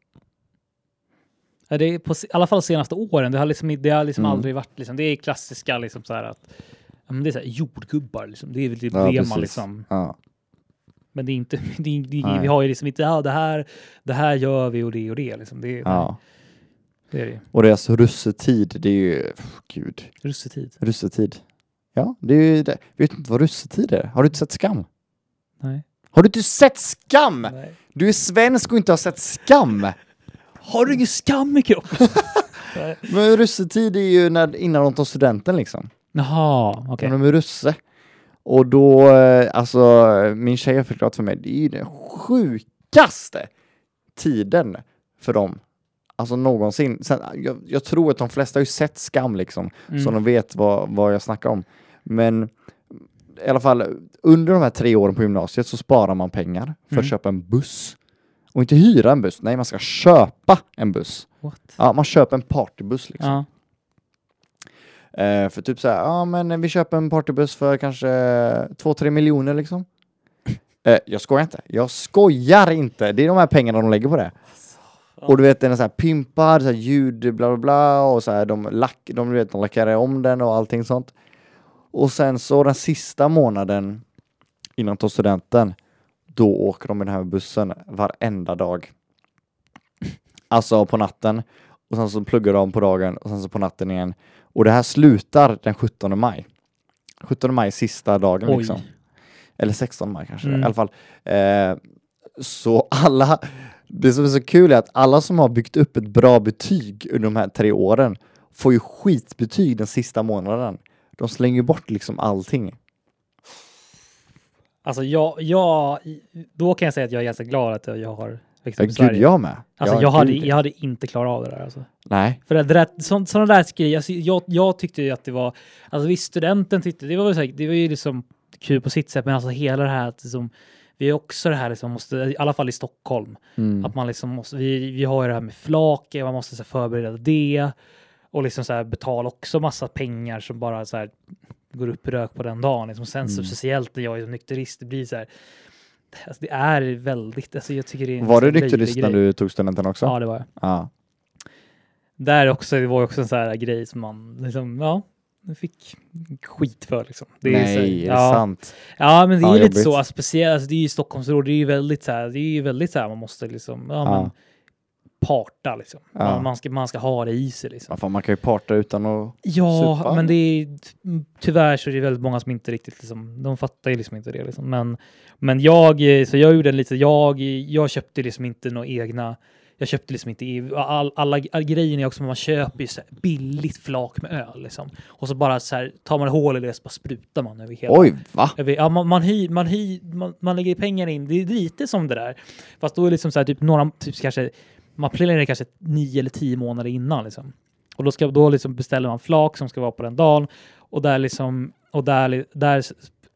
Ja, det är på, se- I alla fall de senaste åren. Det har liksom, det har liksom Mm. aldrig varit... Liksom, det är klassiska liksom så här att... Ja, men det är så här, jordgubbar, liksom. det är väl typ Ja, det precis. man liksom... Ja. Men det är inte... Det är, det är, Nej. vi har ju liksom inte, ja, det, här, det här gör vi och det och det. Liksom. det Ja. det är det ju. Och deras russetid, det är ju... Pff, gud. Russetid. Russetid. Ja, det är ju det. Vet du inte vad russetid är? Har du inte sett Skam? Nej. Har du inte sett Skam? Nej. Du är svensk och inte har sett Skam! Har du ingen skam i kroppen? Nej. Men russetid är ju när, innan de tar studenten liksom. Jaha, okej. När de är russe. Och då, eh, alltså min tjej har förklarat för mig, det är ju den sjukaste tiden för dem. Alltså någonsin. Sen, jag, jag tror att de flesta har ju sett Skam liksom, Mm. så de vet vad, vad jag snackar om. Men i alla fall, under de här tre åren på gymnasiet så sparar man pengar för Mm. att köpa en buss. Och inte hyra en buss, nej man ska köpa en buss. What? Ja, man köper en partybuss liksom. Ja. Eh, för typ så här, ja men vi köper en partybuss för kanske 2-3 miljoner liksom. Eh, jag skojar inte, jag skojar inte! Det är de här pengarna de lägger på det. Och du vet den är så här pimpad, så här ljud, bla bla bla och så här de, lack, de, du vet, de lackerar om den och allting sånt. Och sen så den sista månaden innan de tar studenten, då åker de med den här bussen varenda dag. Alltså på natten. Och sen så pluggar de på dagen och sen så på natten igen. Och det här slutar den 17 maj. 17 maj är sista dagen Oj. liksom. Eller 16 maj kanske, Mm. i alla fall. Eh, så alla, det som är så kul är att alla som har byggt upp ett bra betyg under de här tre åren får ju skitbetyg den sista månaden. De slänger bort liksom allting. Alltså jag, jag, då kan jag säga att jag är ganska glad att jag har växt Ja, upp i gud, Sverige. jag med. Alltså Ja, jag, hade, gud. jag hade inte klarat av det där. Alltså. Nej. För det där, sån, sådana där grejer, alltså, jag, jag tyckte ju att det var, alltså visst studenten tyckte, det var, väl säkert, det var ju liksom kul på sitt sätt, men alltså hela det här att liksom, vi är också det här liksom, måste, i alla fall i Stockholm, Mm. att man liksom måste, vi, vi har ju det här med flaket, man måste så här, förbereda det och liksom så här, betala också massa pengar som bara så här, går upp i rök på den dagen. Liksom. Sen så Mm. speciellt när jag är som nykterist, det blir så här, alltså, det är väldigt, alltså jag tycker det är en Var så du här nykterist löjlig när grej. du tog studenten också? Ja, det var jag. Ja. Där också, det var ju också en sån här grej som man liksom, ja, fick skit för liksom. Det är så här- Nej, är det ja. sant? Ja, men det är Ja, ju lite jobbigt. så, alltså, speciellt, alltså, det är ju Stockholmsråd, det är ju väldigt så här, det är ju väldigt så här, man måste liksom, ja, Ja. men parta liksom. Ja. Man, man, ska, man ska ha det i sig liksom. Ja, fan, man kan ju parta utan att... Ja, Supa. men det är tyvärr så är det väldigt många som inte riktigt liksom, de fattar ju liksom inte det liksom. Men, men jag, eh, så jag gjorde en lite, jag, jag köpte liksom inte några egna, jag köpte liksom inte, i- all, alla all grejerna är också, man köper ju så här billigt flak med öl liksom. Och så bara så här, tar man hål i det så bara sprutar man över hela. Oj, va? Jag vet, ja, man, man, hyr, man, hyr, man, man lägger pengar in, det är lite som det där. Fast då är det liksom så här, typ några, typ kanske, man planerar kanske nio eller tio månader innan. Liksom. Och då, ska, då liksom beställer man flak som ska vara på den dagen och där liksom, och där, li- där s-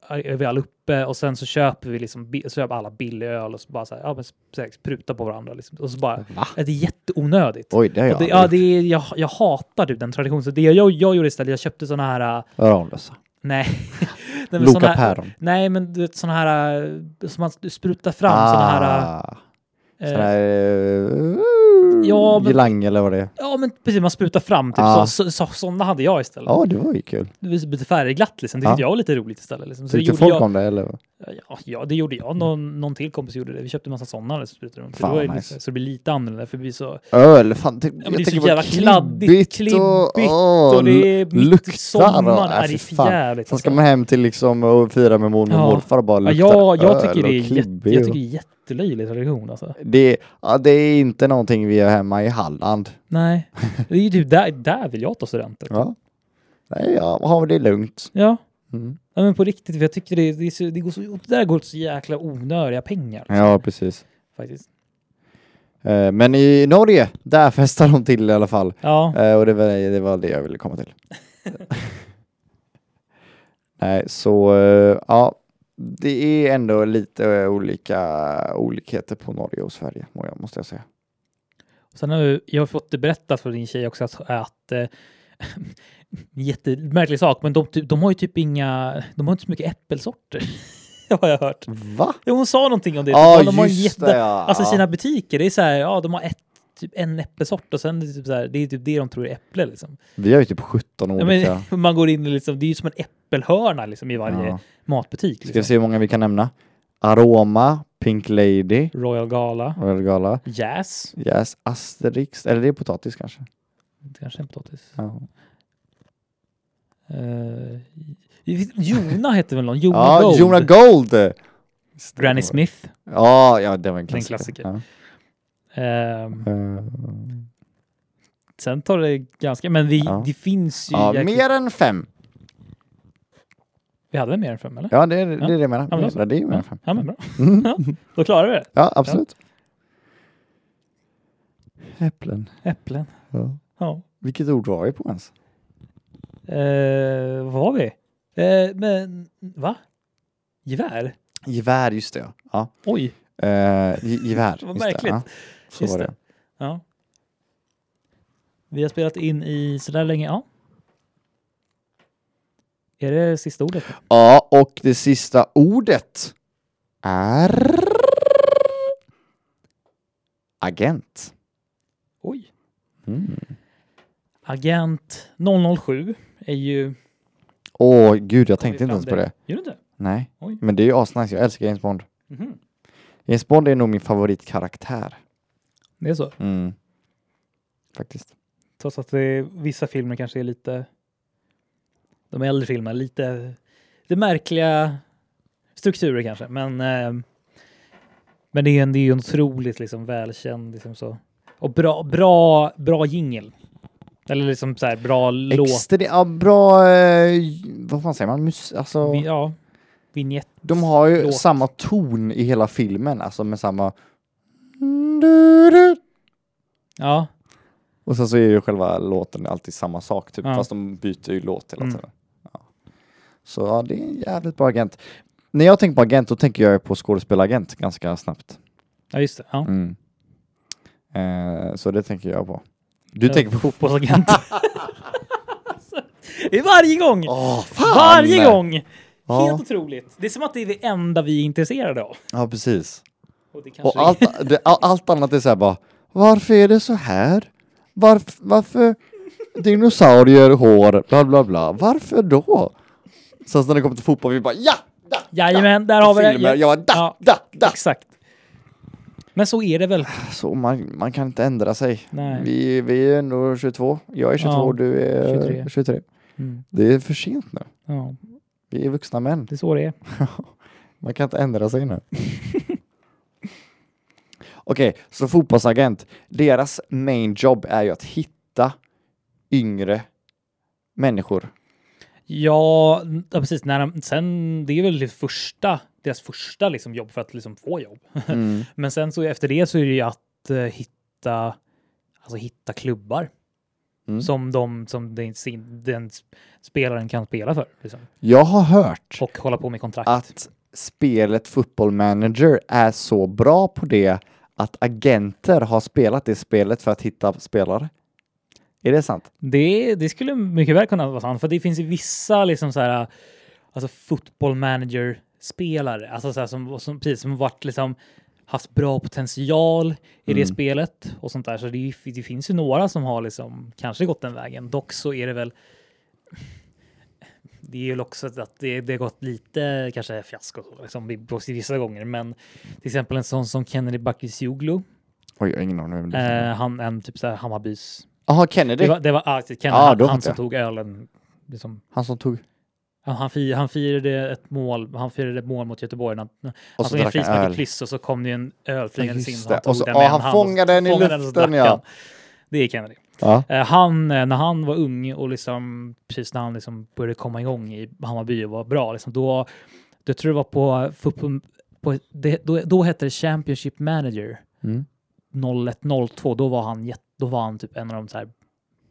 är vi alla uppe och sen så köper vi liksom, bi- så köper alla billig öl och så bara så här, ja men så här, spruta på varandra liksom. Och så bara, Va? det är jätteonödigt. Oj, det har Och det, jag ja, det aldrig är, jag, jag hatar typ den traditionen. Så det jag, jag gjorde istället, jag köpte såna här, äh, Öronlösa. nej. Nej, men såna Loka här- päron. Nej, men du vet sådana här eh, som man sprutar fram, sådana här... Ah, eh, sån här... eh, ja, men- Girlang eller vad det är. Ja, men precis, man sprutar fram. Typ. Ah. Så, så, så, sådana hade jag istället. Ja, det var ju kul. Det var lite färgglatt liksom. Det Ja. tyckte jag var lite roligt istället. Liksom. Så det Tyckte gjorde folk jag, om det eller? ja, ja, det gjorde jag. Någon, någon till kompis gjorde det. Vi köpte en massa sådana. Liksom, sprutade runt. Så Fan, det var ju vad lite- nice. så det blir lite annorlunda. För det blir så, Öl, fan. Det, men jag det är så tänker bara jävla kladdigt, och- klibbigt åh, och det är mitt i luktar och- sommaren. nej, Ja, det fy är fan. förjävligt, Sen ska alltså. man hem till liksom och fira med mormor och Ja. morfar och bara ja, lukta jag, jag, öl tycker det är och jätte, klibbig jag och- tycker det är jättelöjlig tradition. Alltså. det, ja, det är inte någonting vi gör hemma i Halland. Nej, det är ju typ där, där vill jag ta studenten. Ja. Nej, ja, ja, det är lugnt. Ja. Mm. Ja, men på riktigt, för jag tycker det, det, är så, det, går så, det där går åt så jäkla onödiga pengar. Ja, precis. Faktiskt. Eh, Men i Norge, där festar de till i alla fall. Ja, Eh, Och det var, det var det jag ville komma till. Nej, så eh, ja, det är ändå lite eh, olika olikheter på Norge och Sverige, må jag- måste jag säga. sen har ju- jag har fått det berättat för din tjej också att, att eh, jättemärklig sak, men de, typ- de har ju typ inga, de har inte så mycket äppelsorter. har jag hört. Va? Ja, Hon sa någonting om det. typ, Ja, de har just jätte- det, ja. Alltså sina butiker, det är så här, ja de har ett, typ en äppelsort och sen är det typ så här, det är typ det de tror är äpple liksom. Vi har ju typ 17 Ja, olika. men, man går in i liksom, det är ju som en äppelhörna liksom i varje Ja. matbutik. Ska vi Liksom. se hur många vi kan nämna? Aroma, Pink Lady, Royal Gala, Royal Gala, Jazz, Yes, Asterix, eller det är potatis kanske. Det kanske är en potatis. Ja. Eh, Jona hette väl någon? Jona Ja, Gold? Jonah Gold! Granny Smith. Ja, ja, det var en Det är en klassiker. Ehm, Ja. Eh, sen tar det ganska... Men vi, Ja. det finns ju... ja, jäkligt- mer än fem. Vi hade väl mer än fem, eller? Ja, det, är- det är det jag menar. Ja, men då så. Ja, det är ju mer Ja, än fem. ja men bra. Mm. Ja, Då klarar vi det. Ja, absolut. Äpplen. Äpplen. Ja. Ja. Vilket ord var vi på ens? Eh, vad var vi? Eh, men va? Gevär? Gevär, just det. Ja. Oj. Ja. Eh, ge- gevär. Vad just Det, märkligt. ja. Så Just var det. det. Ja. Vi har spelat in i sådär länge. Ja. Är det sista ordet? Ja, och det sista ordet är agent. Oj. Mm. Agent 007 är ju... Åh gud, jag Kom vi tänkte inte fram ens på där? det. Gör du inte? Nej, Oj. men det är ju asnice. Jag älskar James Bond. Mhm. James Bond är nog min favoritkaraktär. Det är så. Mm. Faktiskt. Trots att det, vissa filmer kanske är lite... De äldre filmerna, lite, lite märkliga strukturer kanske. Men, eh, men det är en, det är ju en otroligt liksom, välkänd liksom så. Och bra, bra, bra jingel. Eller liksom så här, bra låt. Extra, ja, bra, eh, vad fan säger man? Mus alltså, Vi- Ja, vignett. de har ju låt. samma ton i hela filmen, alltså med samma... Ja, Och sen så är ju själva låten alltid samma sak, typ. Ja. fast de byter ju låt hela Mm. tiden. Ja. Så ja, det är en jävligt bra agent. När jag tänker på agent, då tänker jag på skådespelaragent ganska snabbt. ja just det. Ja. Mm. Eh, så det tänker jag på. Du Ja. tänker på fotboll? Fotbollsagent. Alltså, det är varje gång! Åh, fan! Varje gång! Helt Ja. otroligt. Det är som att det är det enda vi är intresserade av. Ja, precis. Och Alltså, det kanske Och allt, det, all- allt annat är så här bara, varför är det så här? Varf, varför dinosaurier, hår, bla bla bla. Varför då? Sen så när det kommer till fotboll, vi bara ja! Da, Jajamän, da. där har vi det. Filmer, Ja. Jag bara, da, Ja. da, da. Exakt. Men så är det väl? Så man, man kan inte ändra sig. Nej. Vi, vi är ändå 22. Jag är 22 Ja. och du är 23. 23. Mm. Det är för sent nu. Ja, Vi är vuxna män. det är så det är. Man kan inte ändra sig nu. Okej, så fotbollsagent. Deras main job är ju att hitta yngre människor. Ja, n- ja precis. När de, sen, det är väl det första, deras första liksom jobb för att liksom få jobb. Mm. Men sen så efter det så är det ju att eh, hitta, alltså hitta klubbar Mm. som, de, som den, sin- den s- spelaren kan spela för. Liksom. Jag har hört Och hålla på med kontrakt. att spelet Football Manager är så bra på det att agenter har spelat det spelet för att hitta spelare. Är det sant? Det, det skulle mycket väl kunna vara sant, för det finns ju vissa liksom så här, alltså football manager-spelare, alltså så här, som, som, precis, som varit liksom haft bra potential i det Mm. spelet och sånt där. Så det, det finns ju några som har liksom kanske gått den vägen. Dock så är det väl det är ju också att det, det har gått lite kanske fiasko liksom, vid- vissa gånger, men till exempel en sån som Kennedy Bakircioglu, Oj, jag har ingen aning om vem det är. eh, han en typ så här Hammarbys Jaha, Kennedy. det var, det var ah, Kennedy, Ja, han, då han fattar som jag. tog ölen. Liksom, Han som tog... han, han, fir, han firade ett mål, han firade ett mål mot Göteborg. Han, han så tog drack en han frispark i öl. kryss och så kom det ju en öl flygandes in. just och Han, det. tog Och så- den ja, med en han hand fångade den i fångade och så luften, drack ja. han. Det är Kennedy. Ja. Eh, Han, eh, när han var ung och liksom, precis när han liksom började komma igång i Hammarby och var bra, liksom, då, då tror jag det var på, fotboll- på det, då, då hette det Championship Manager. Mm. 01-02, då var han, jätte- då var han typ en av de så här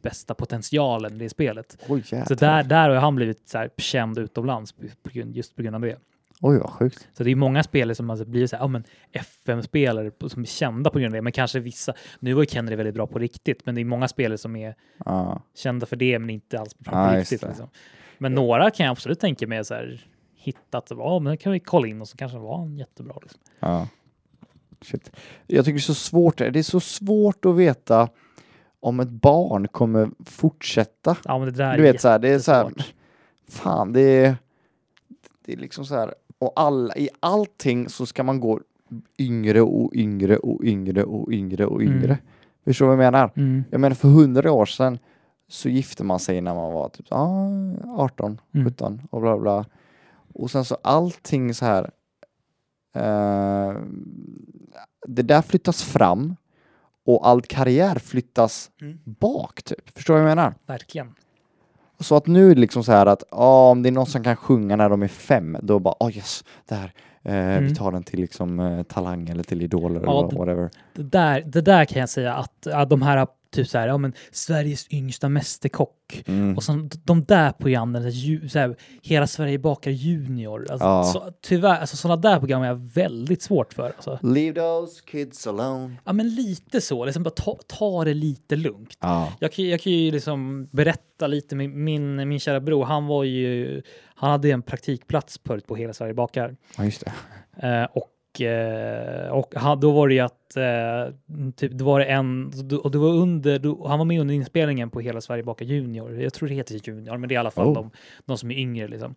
bästa potentialen i det spelet. Oj, Så där, där har han blivit så här känd utomlands på- på grund- just på grund av det. Oj, vad sjukt. Så det är många spelare som alltså blivit så här, ja, men FM-spelare på- som är kända på grund av det, men kanske vissa. Nu var ju Kennedy väldigt bra på riktigt, men det är många spelare som är Ja. kända för det, men inte alls bra på Ah, just riktigt. det. Liksom. Men några kan jag absolut tänka mig så här hittat, ja men kan vi kolla in och så kanske det var en jättebra. Liksom. Ja. Shit. Jag tycker det är så svårt. Det är så svårt att veta om ett barn kommer fortsätta. Ja, men det där är Du vet så här, det är så här. jättesvårt. Fan, det är. Det är liksom så här. Och alla, i allting så ska man gå yngre och yngre och yngre och yngre och yngre. Mm. Förstår du vad jag menar? Mm. Jag menar för hundra år sedan så gifte man sig när man var typ ah, 18, Mm. 17 och bla bla. Och sen så allting så här. eh, det där flyttas fram och all karriär flyttas Mm. bak typ. Förstår du vad jag menar? Verkligen. Så att nu är det liksom så här att ah, om det är någon som kan sjunga när de är fem, då bara oh yes, där. Eh, Mm. Vi tar den till liksom eh, Talang eller till Idol eller Ja, vad- d- whatever. Det där, det där kan jag säga att, att de här typ så här, ja men Sveriges yngsta mästerkock Mm. och sen de där programmen, så här, ju- så här, Hela Sverige bakar junior. Alltså, Ja. så, tyvärr, alltså sådana där program är jag väldigt svårt för. Alltså. Leave those kids alone. Ja men lite så, liksom bara ta, ta det lite lugnt. Ja. Jag kan, jag kan ju liksom berätta lite. Min, min, min kära bror, han var ju... Han hade en praktikplats förut på Hela Sverige bakar. Ja, just det. Eh, och eh, och han, då var det ju att... Eh, typ, då var det en... Och det var under, då, han var med under inspelningen på Hela Sverige bakar junior. Jag tror det heter junior, men det är i alla fall Oh. de, de som är yngre liksom.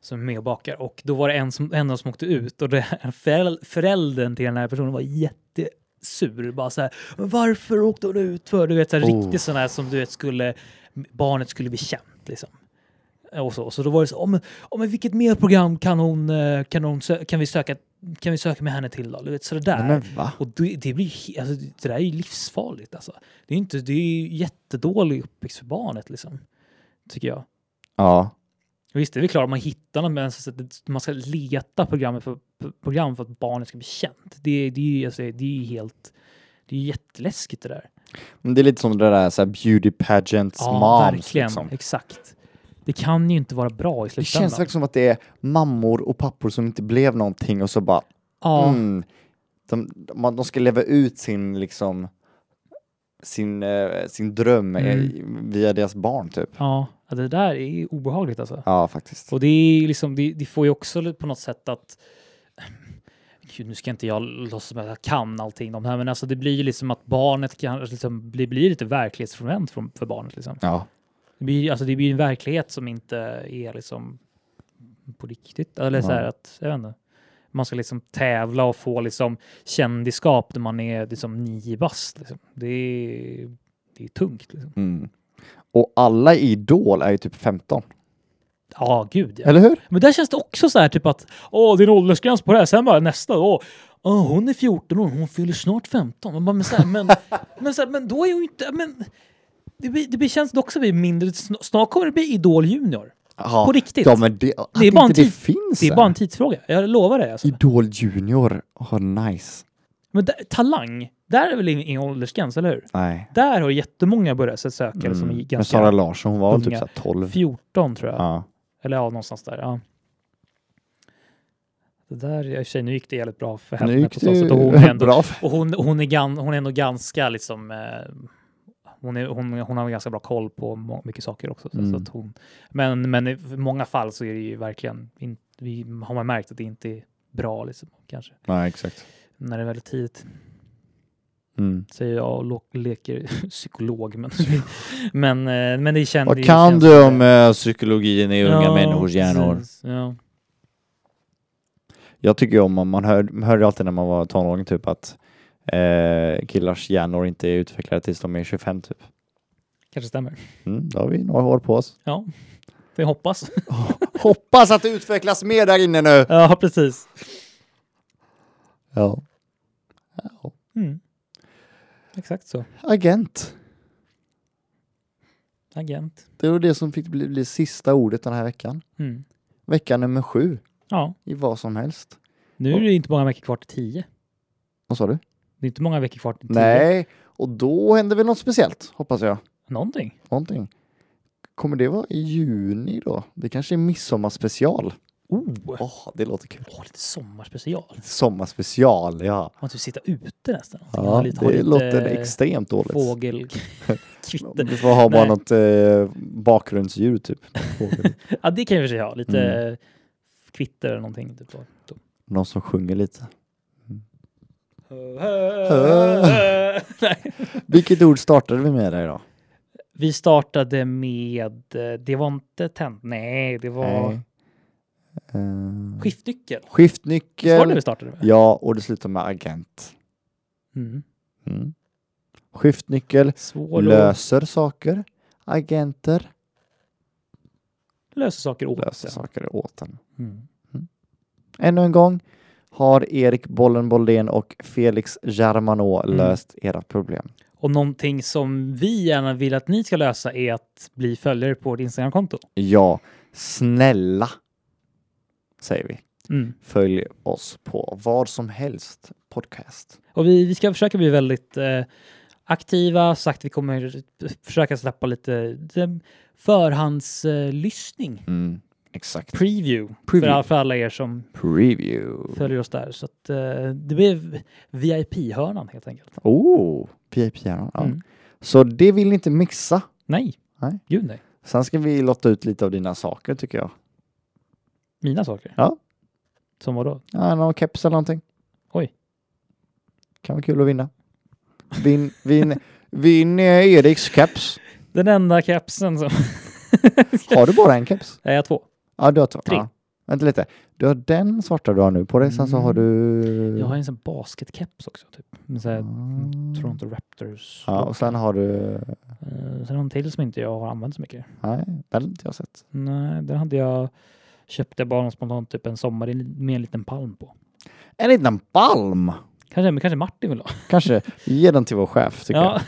Som är med och bakar. Och då var det en, som, en av dem som åkte ut och det, föräl- föräldern till den här personen var jätte sur. Bara så här, "Men varför åkte hon ut för? Du vet, så här, Oh. riktigt sån här som du vet skulle, barnet skulle bli känt liksom. Och så, så då var det så, "Ja, men, ja, men vilket mer program kan hon, eh, kan hon, sö- kan vi söka, kan vi söka med henne till då? Du vet, så det där. Nej, men va? Och det, det blir he- alltså, det där är ju livsfarligt alltså. Det är ju inte, det är ju jättedålig uppväxt för barnet liksom. Tycker jag. Ja. Visst, det är väl klart man hittar någon, men så att det- man ska leta programmet för, p- program för att barnet ska bli känt. Det, det, är, ju- alltså, det är ju helt... Det är ju jätteläskigt det där. Men det är lite som det där så här beauty pageants moms. verkligen. typ Liksom. Exakt. Det kan ju inte vara bra i Det slutändan. känns verkligen som att det är mammor och pappor som inte blev någonting och så bara Ja, mm, de, de, de ska leva ut sin liksom sin, eh, sin dröm eh, Mm. via deras barn typ. ja, Ja, det där är ju obehagligt alltså. Ja, faktiskt. Och det, är ju liksom, det, det får ju också på något sätt att... Gud, nu ska inte jag låtsas som att jag kan allting om det här, men alltså det blir ju liksom att barnet kan liksom, bli, blir lite verklighetsfrånvänt från- för barnet. Liksom. Ja. Det blir, alltså det blir en verklighet som inte är liksom på riktigt. Eller så här Ja. att, jag vet inte. Man ska liksom tävla och få liksom kändiskap när man är liksom nio bast. Liksom. Det, är, det är tungt. Liksom. Mm. Och alla i Idol är ju typ 15. Ja, gud ja. Eller hur? Men där känns det också så här typ att åh, det är en åldersgräns på det här. Sen bara nästa, åh, åh, hon är 14 år, hon fyller snart 15. Man bara, men, så här, men, men, så här, men då är hon ju inte, men det, blir, det blir, känns det också bli mindre, Sn- snart kommer det bli Idol Junior. Ja. På riktigt. Ja, men det, att Det är bara en inte det tid- finns Det är än. bara en tidsfråga, jag lovar det. Alltså. Idol Junior. Oh, nice. Men där, talang, där är väl ingen ingen åldersgräns, eller hur? Nej. Där har jättemånga börjat sig söka som är Mm. Men ganska Sara Larsson, hon var väl typ unga. så här 12. 14 tror jag. Ja. Eller ja, någonstans där. Ja. Det där, i och för sig, nu gick det jävligt bra för henne Nu gick på det så sätt. Och hon är ju ändå bra för Och hon, hon, är gan, hon är ändå ganska liksom... Eh, hon, är, hon, hon har ganska bra koll på må- mycket saker också. Så Mm. att hon, men, men i många fall så är det ju verkligen... In, vi har man märkt att det inte är bra liksom, kanske. Nej, exakt. När det är väldigt tidigt. Mm. Säger jag och lo- leker psykolog. Men, men, eh, men det känns... Vad kan du om eh, psykologin i unga Ja, människors hjärnor? precis. Ja. Jag tycker ju om, man hör, man hörde alltid när man var tonåring typ att eh, killars hjärnor inte är utvecklade tills de är 25 typ. Kanske stämmer. Mm, då har vi några år på oss. Ja, det hoppas. Hoppas att det utvecklas mer där inne nu! ja, precis. Ja. Mm. Exakt så. Agent. Agent. Det var det som fick bli, bli sista ordet den här veckan. Mm. Vecka nummer sju Ja. i vad som helst. Nu är det inte många veckor kvar till tio. Vad sa du? Det är inte många veckor kvar till tio. Nej, och då händer väl något speciellt hoppas jag. Någonting. Någonting. Kommer det vara i juni då? Det kanske är midsommarspecial. Oh, Åh, det låter kul. Åh, lite sommarspecial. Sommarspecial, ja. Man typ sitta ute nästan. ja Ha ha det låter extremt dåligt. Fågelkvitter. Vi får ha bara Nej. något eh, bakgrundsdjur typ. Fågel. Ja, det kan jag i och för sig ha. Lite Mm. eh, kvitter eller någonting. Typ. så. Någon som sjunger lite. Nej. Vilket ord startade vi med där idag? Vi startade med, eh, det var inte tänd, nej det var Nej. Eh, skiftnyckel. Var det skiftnyckel. det vi startade med? Ja, och det slutar med agent. Mm. Mm. Skiftnyckel Svår att löser saker. Agenter lösa saker åt. löser saker åt en. Mm. Ännu en gång har Erik Bollen Boldén och Felix Germano Mm. löst era problem. Och någonting som vi gärna vill att ni ska lösa är att bli följare på vårt Instagramkonto. Ja, snälla säger vi. Mm. Följ oss på vad som helst podcast. Och vi, vi ska försöka bli väldigt eh, aktiva. Sagt, vi kommer försöka släppa lite förhandslyssning. Eh, lyssning. Mm, exakt. Preview, Preview. För, för alla er som Preview. följer oss där. Så att, eh, det blir VIP-hörnan helt enkelt. Oh, pip ja. Mm. Så det vill ni inte missa. Nej. Nej. gud nej. Sen ska vi lotta ut lite av dina saker tycker jag. Mina saker. Ja. Som vadå? Ja, någon keps eller någonting. Oj. Kan vara kul att vinna. Vinn vin, vin, eh, Eriks keps. Den enda kepsen som... Har du bara en keps? Nej, jag har två. Ja, du har två. Tre. Ja. Vänta lite. Du har den svarta du har nu på dig, sen så har du... Mm. Jag har en sån basketkeps också. Typ. Med så här Toronto Raptors. Mm. Ja, och sen har du... Eh, sen någon till som inte jag har använt så mycket. Nej, den har inte jag sett. Nej, den hade jag... Köpte jag bara någon spontant typ en sommar med en liten palm på. En liten palm! Kanske, men kanske Martin vill ha? Kanske ge den till vår chef, tycker Ja,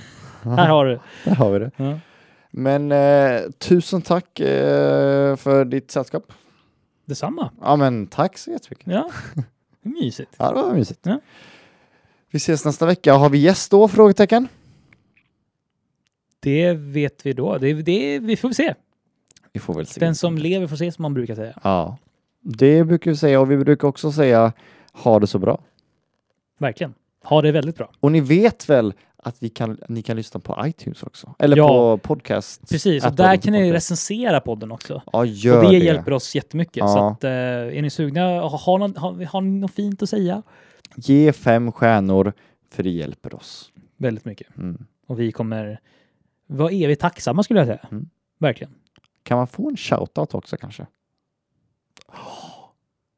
här har du. jag. Där har vi det. Ja. Men eh, tusen tack eh, för ditt sällskap. Detsamma. Ja, men tack så jättemycket. Ja, mysigt. Ja, det var mysigt. Ja. Vi ses nästa vecka. Har vi gäst då? Frågetecken. Det vet vi då. Det, det, vi får se. Vi får väl se. Den som lever får se som man brukar säga. Ja, det brukar vi säga och vi brukar också säga ha det så bra. Verkligen. Ha det väldigt bra. Och ni vet väl att vi kan, ni kan lyssna på iTunes också? Eller Ja. på podcast. Precis, och Apple där kan ni podcast. recensera podden också. Ja, Och gör det, det. hjälper oss jättemycket. Ja. Så att, eh, är ni sugna, har, har, någon, har, har ni något fint att säga? Ge fem stjärnor, för det hjälper oss. Väldigt mycket. Mm. Och vi kommer vara evigt tacksamma skulle jag säga. Mm. Verkligen. Kan man få en shoutout också kanske?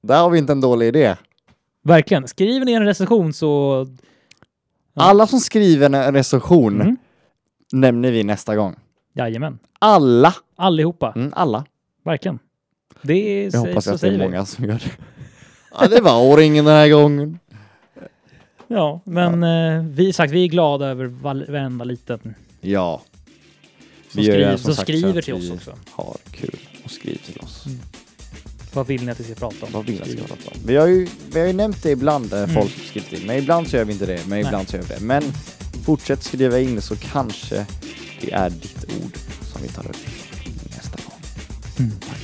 Där har vi inte en dålig idé. Verkligen. Skriver ni en recension så... Ja. Alla som skriver en recension Mm. nämner vi nästa gång. Jajamän. Alla! Allihopa. Mm, alla. Verkligen. Det är, Jag så- hoppas så att det är säger vi. många som gör det. Ja, det var O-ringen den här gången. Ja, men eh, vi, sagt, vi är glada över val- varenda liten som Ja. Vi gör ju skriver, som som sagt så skriver att till oss vi- också. Mm. Har kul och skriv till oss. Vad vill ni att vi ska prata om? Vad vill jag Skriv. ska prata om? Vi har ju, vi har ju nämnt det ibland, eh, Mm. folk som skrivit in. Men ibland så gör vi inte det, men ibland så gör vi det. Men fortsätt skriva in så kanske det är ditt ord som vi tar upp nästa gång. Mm. Tack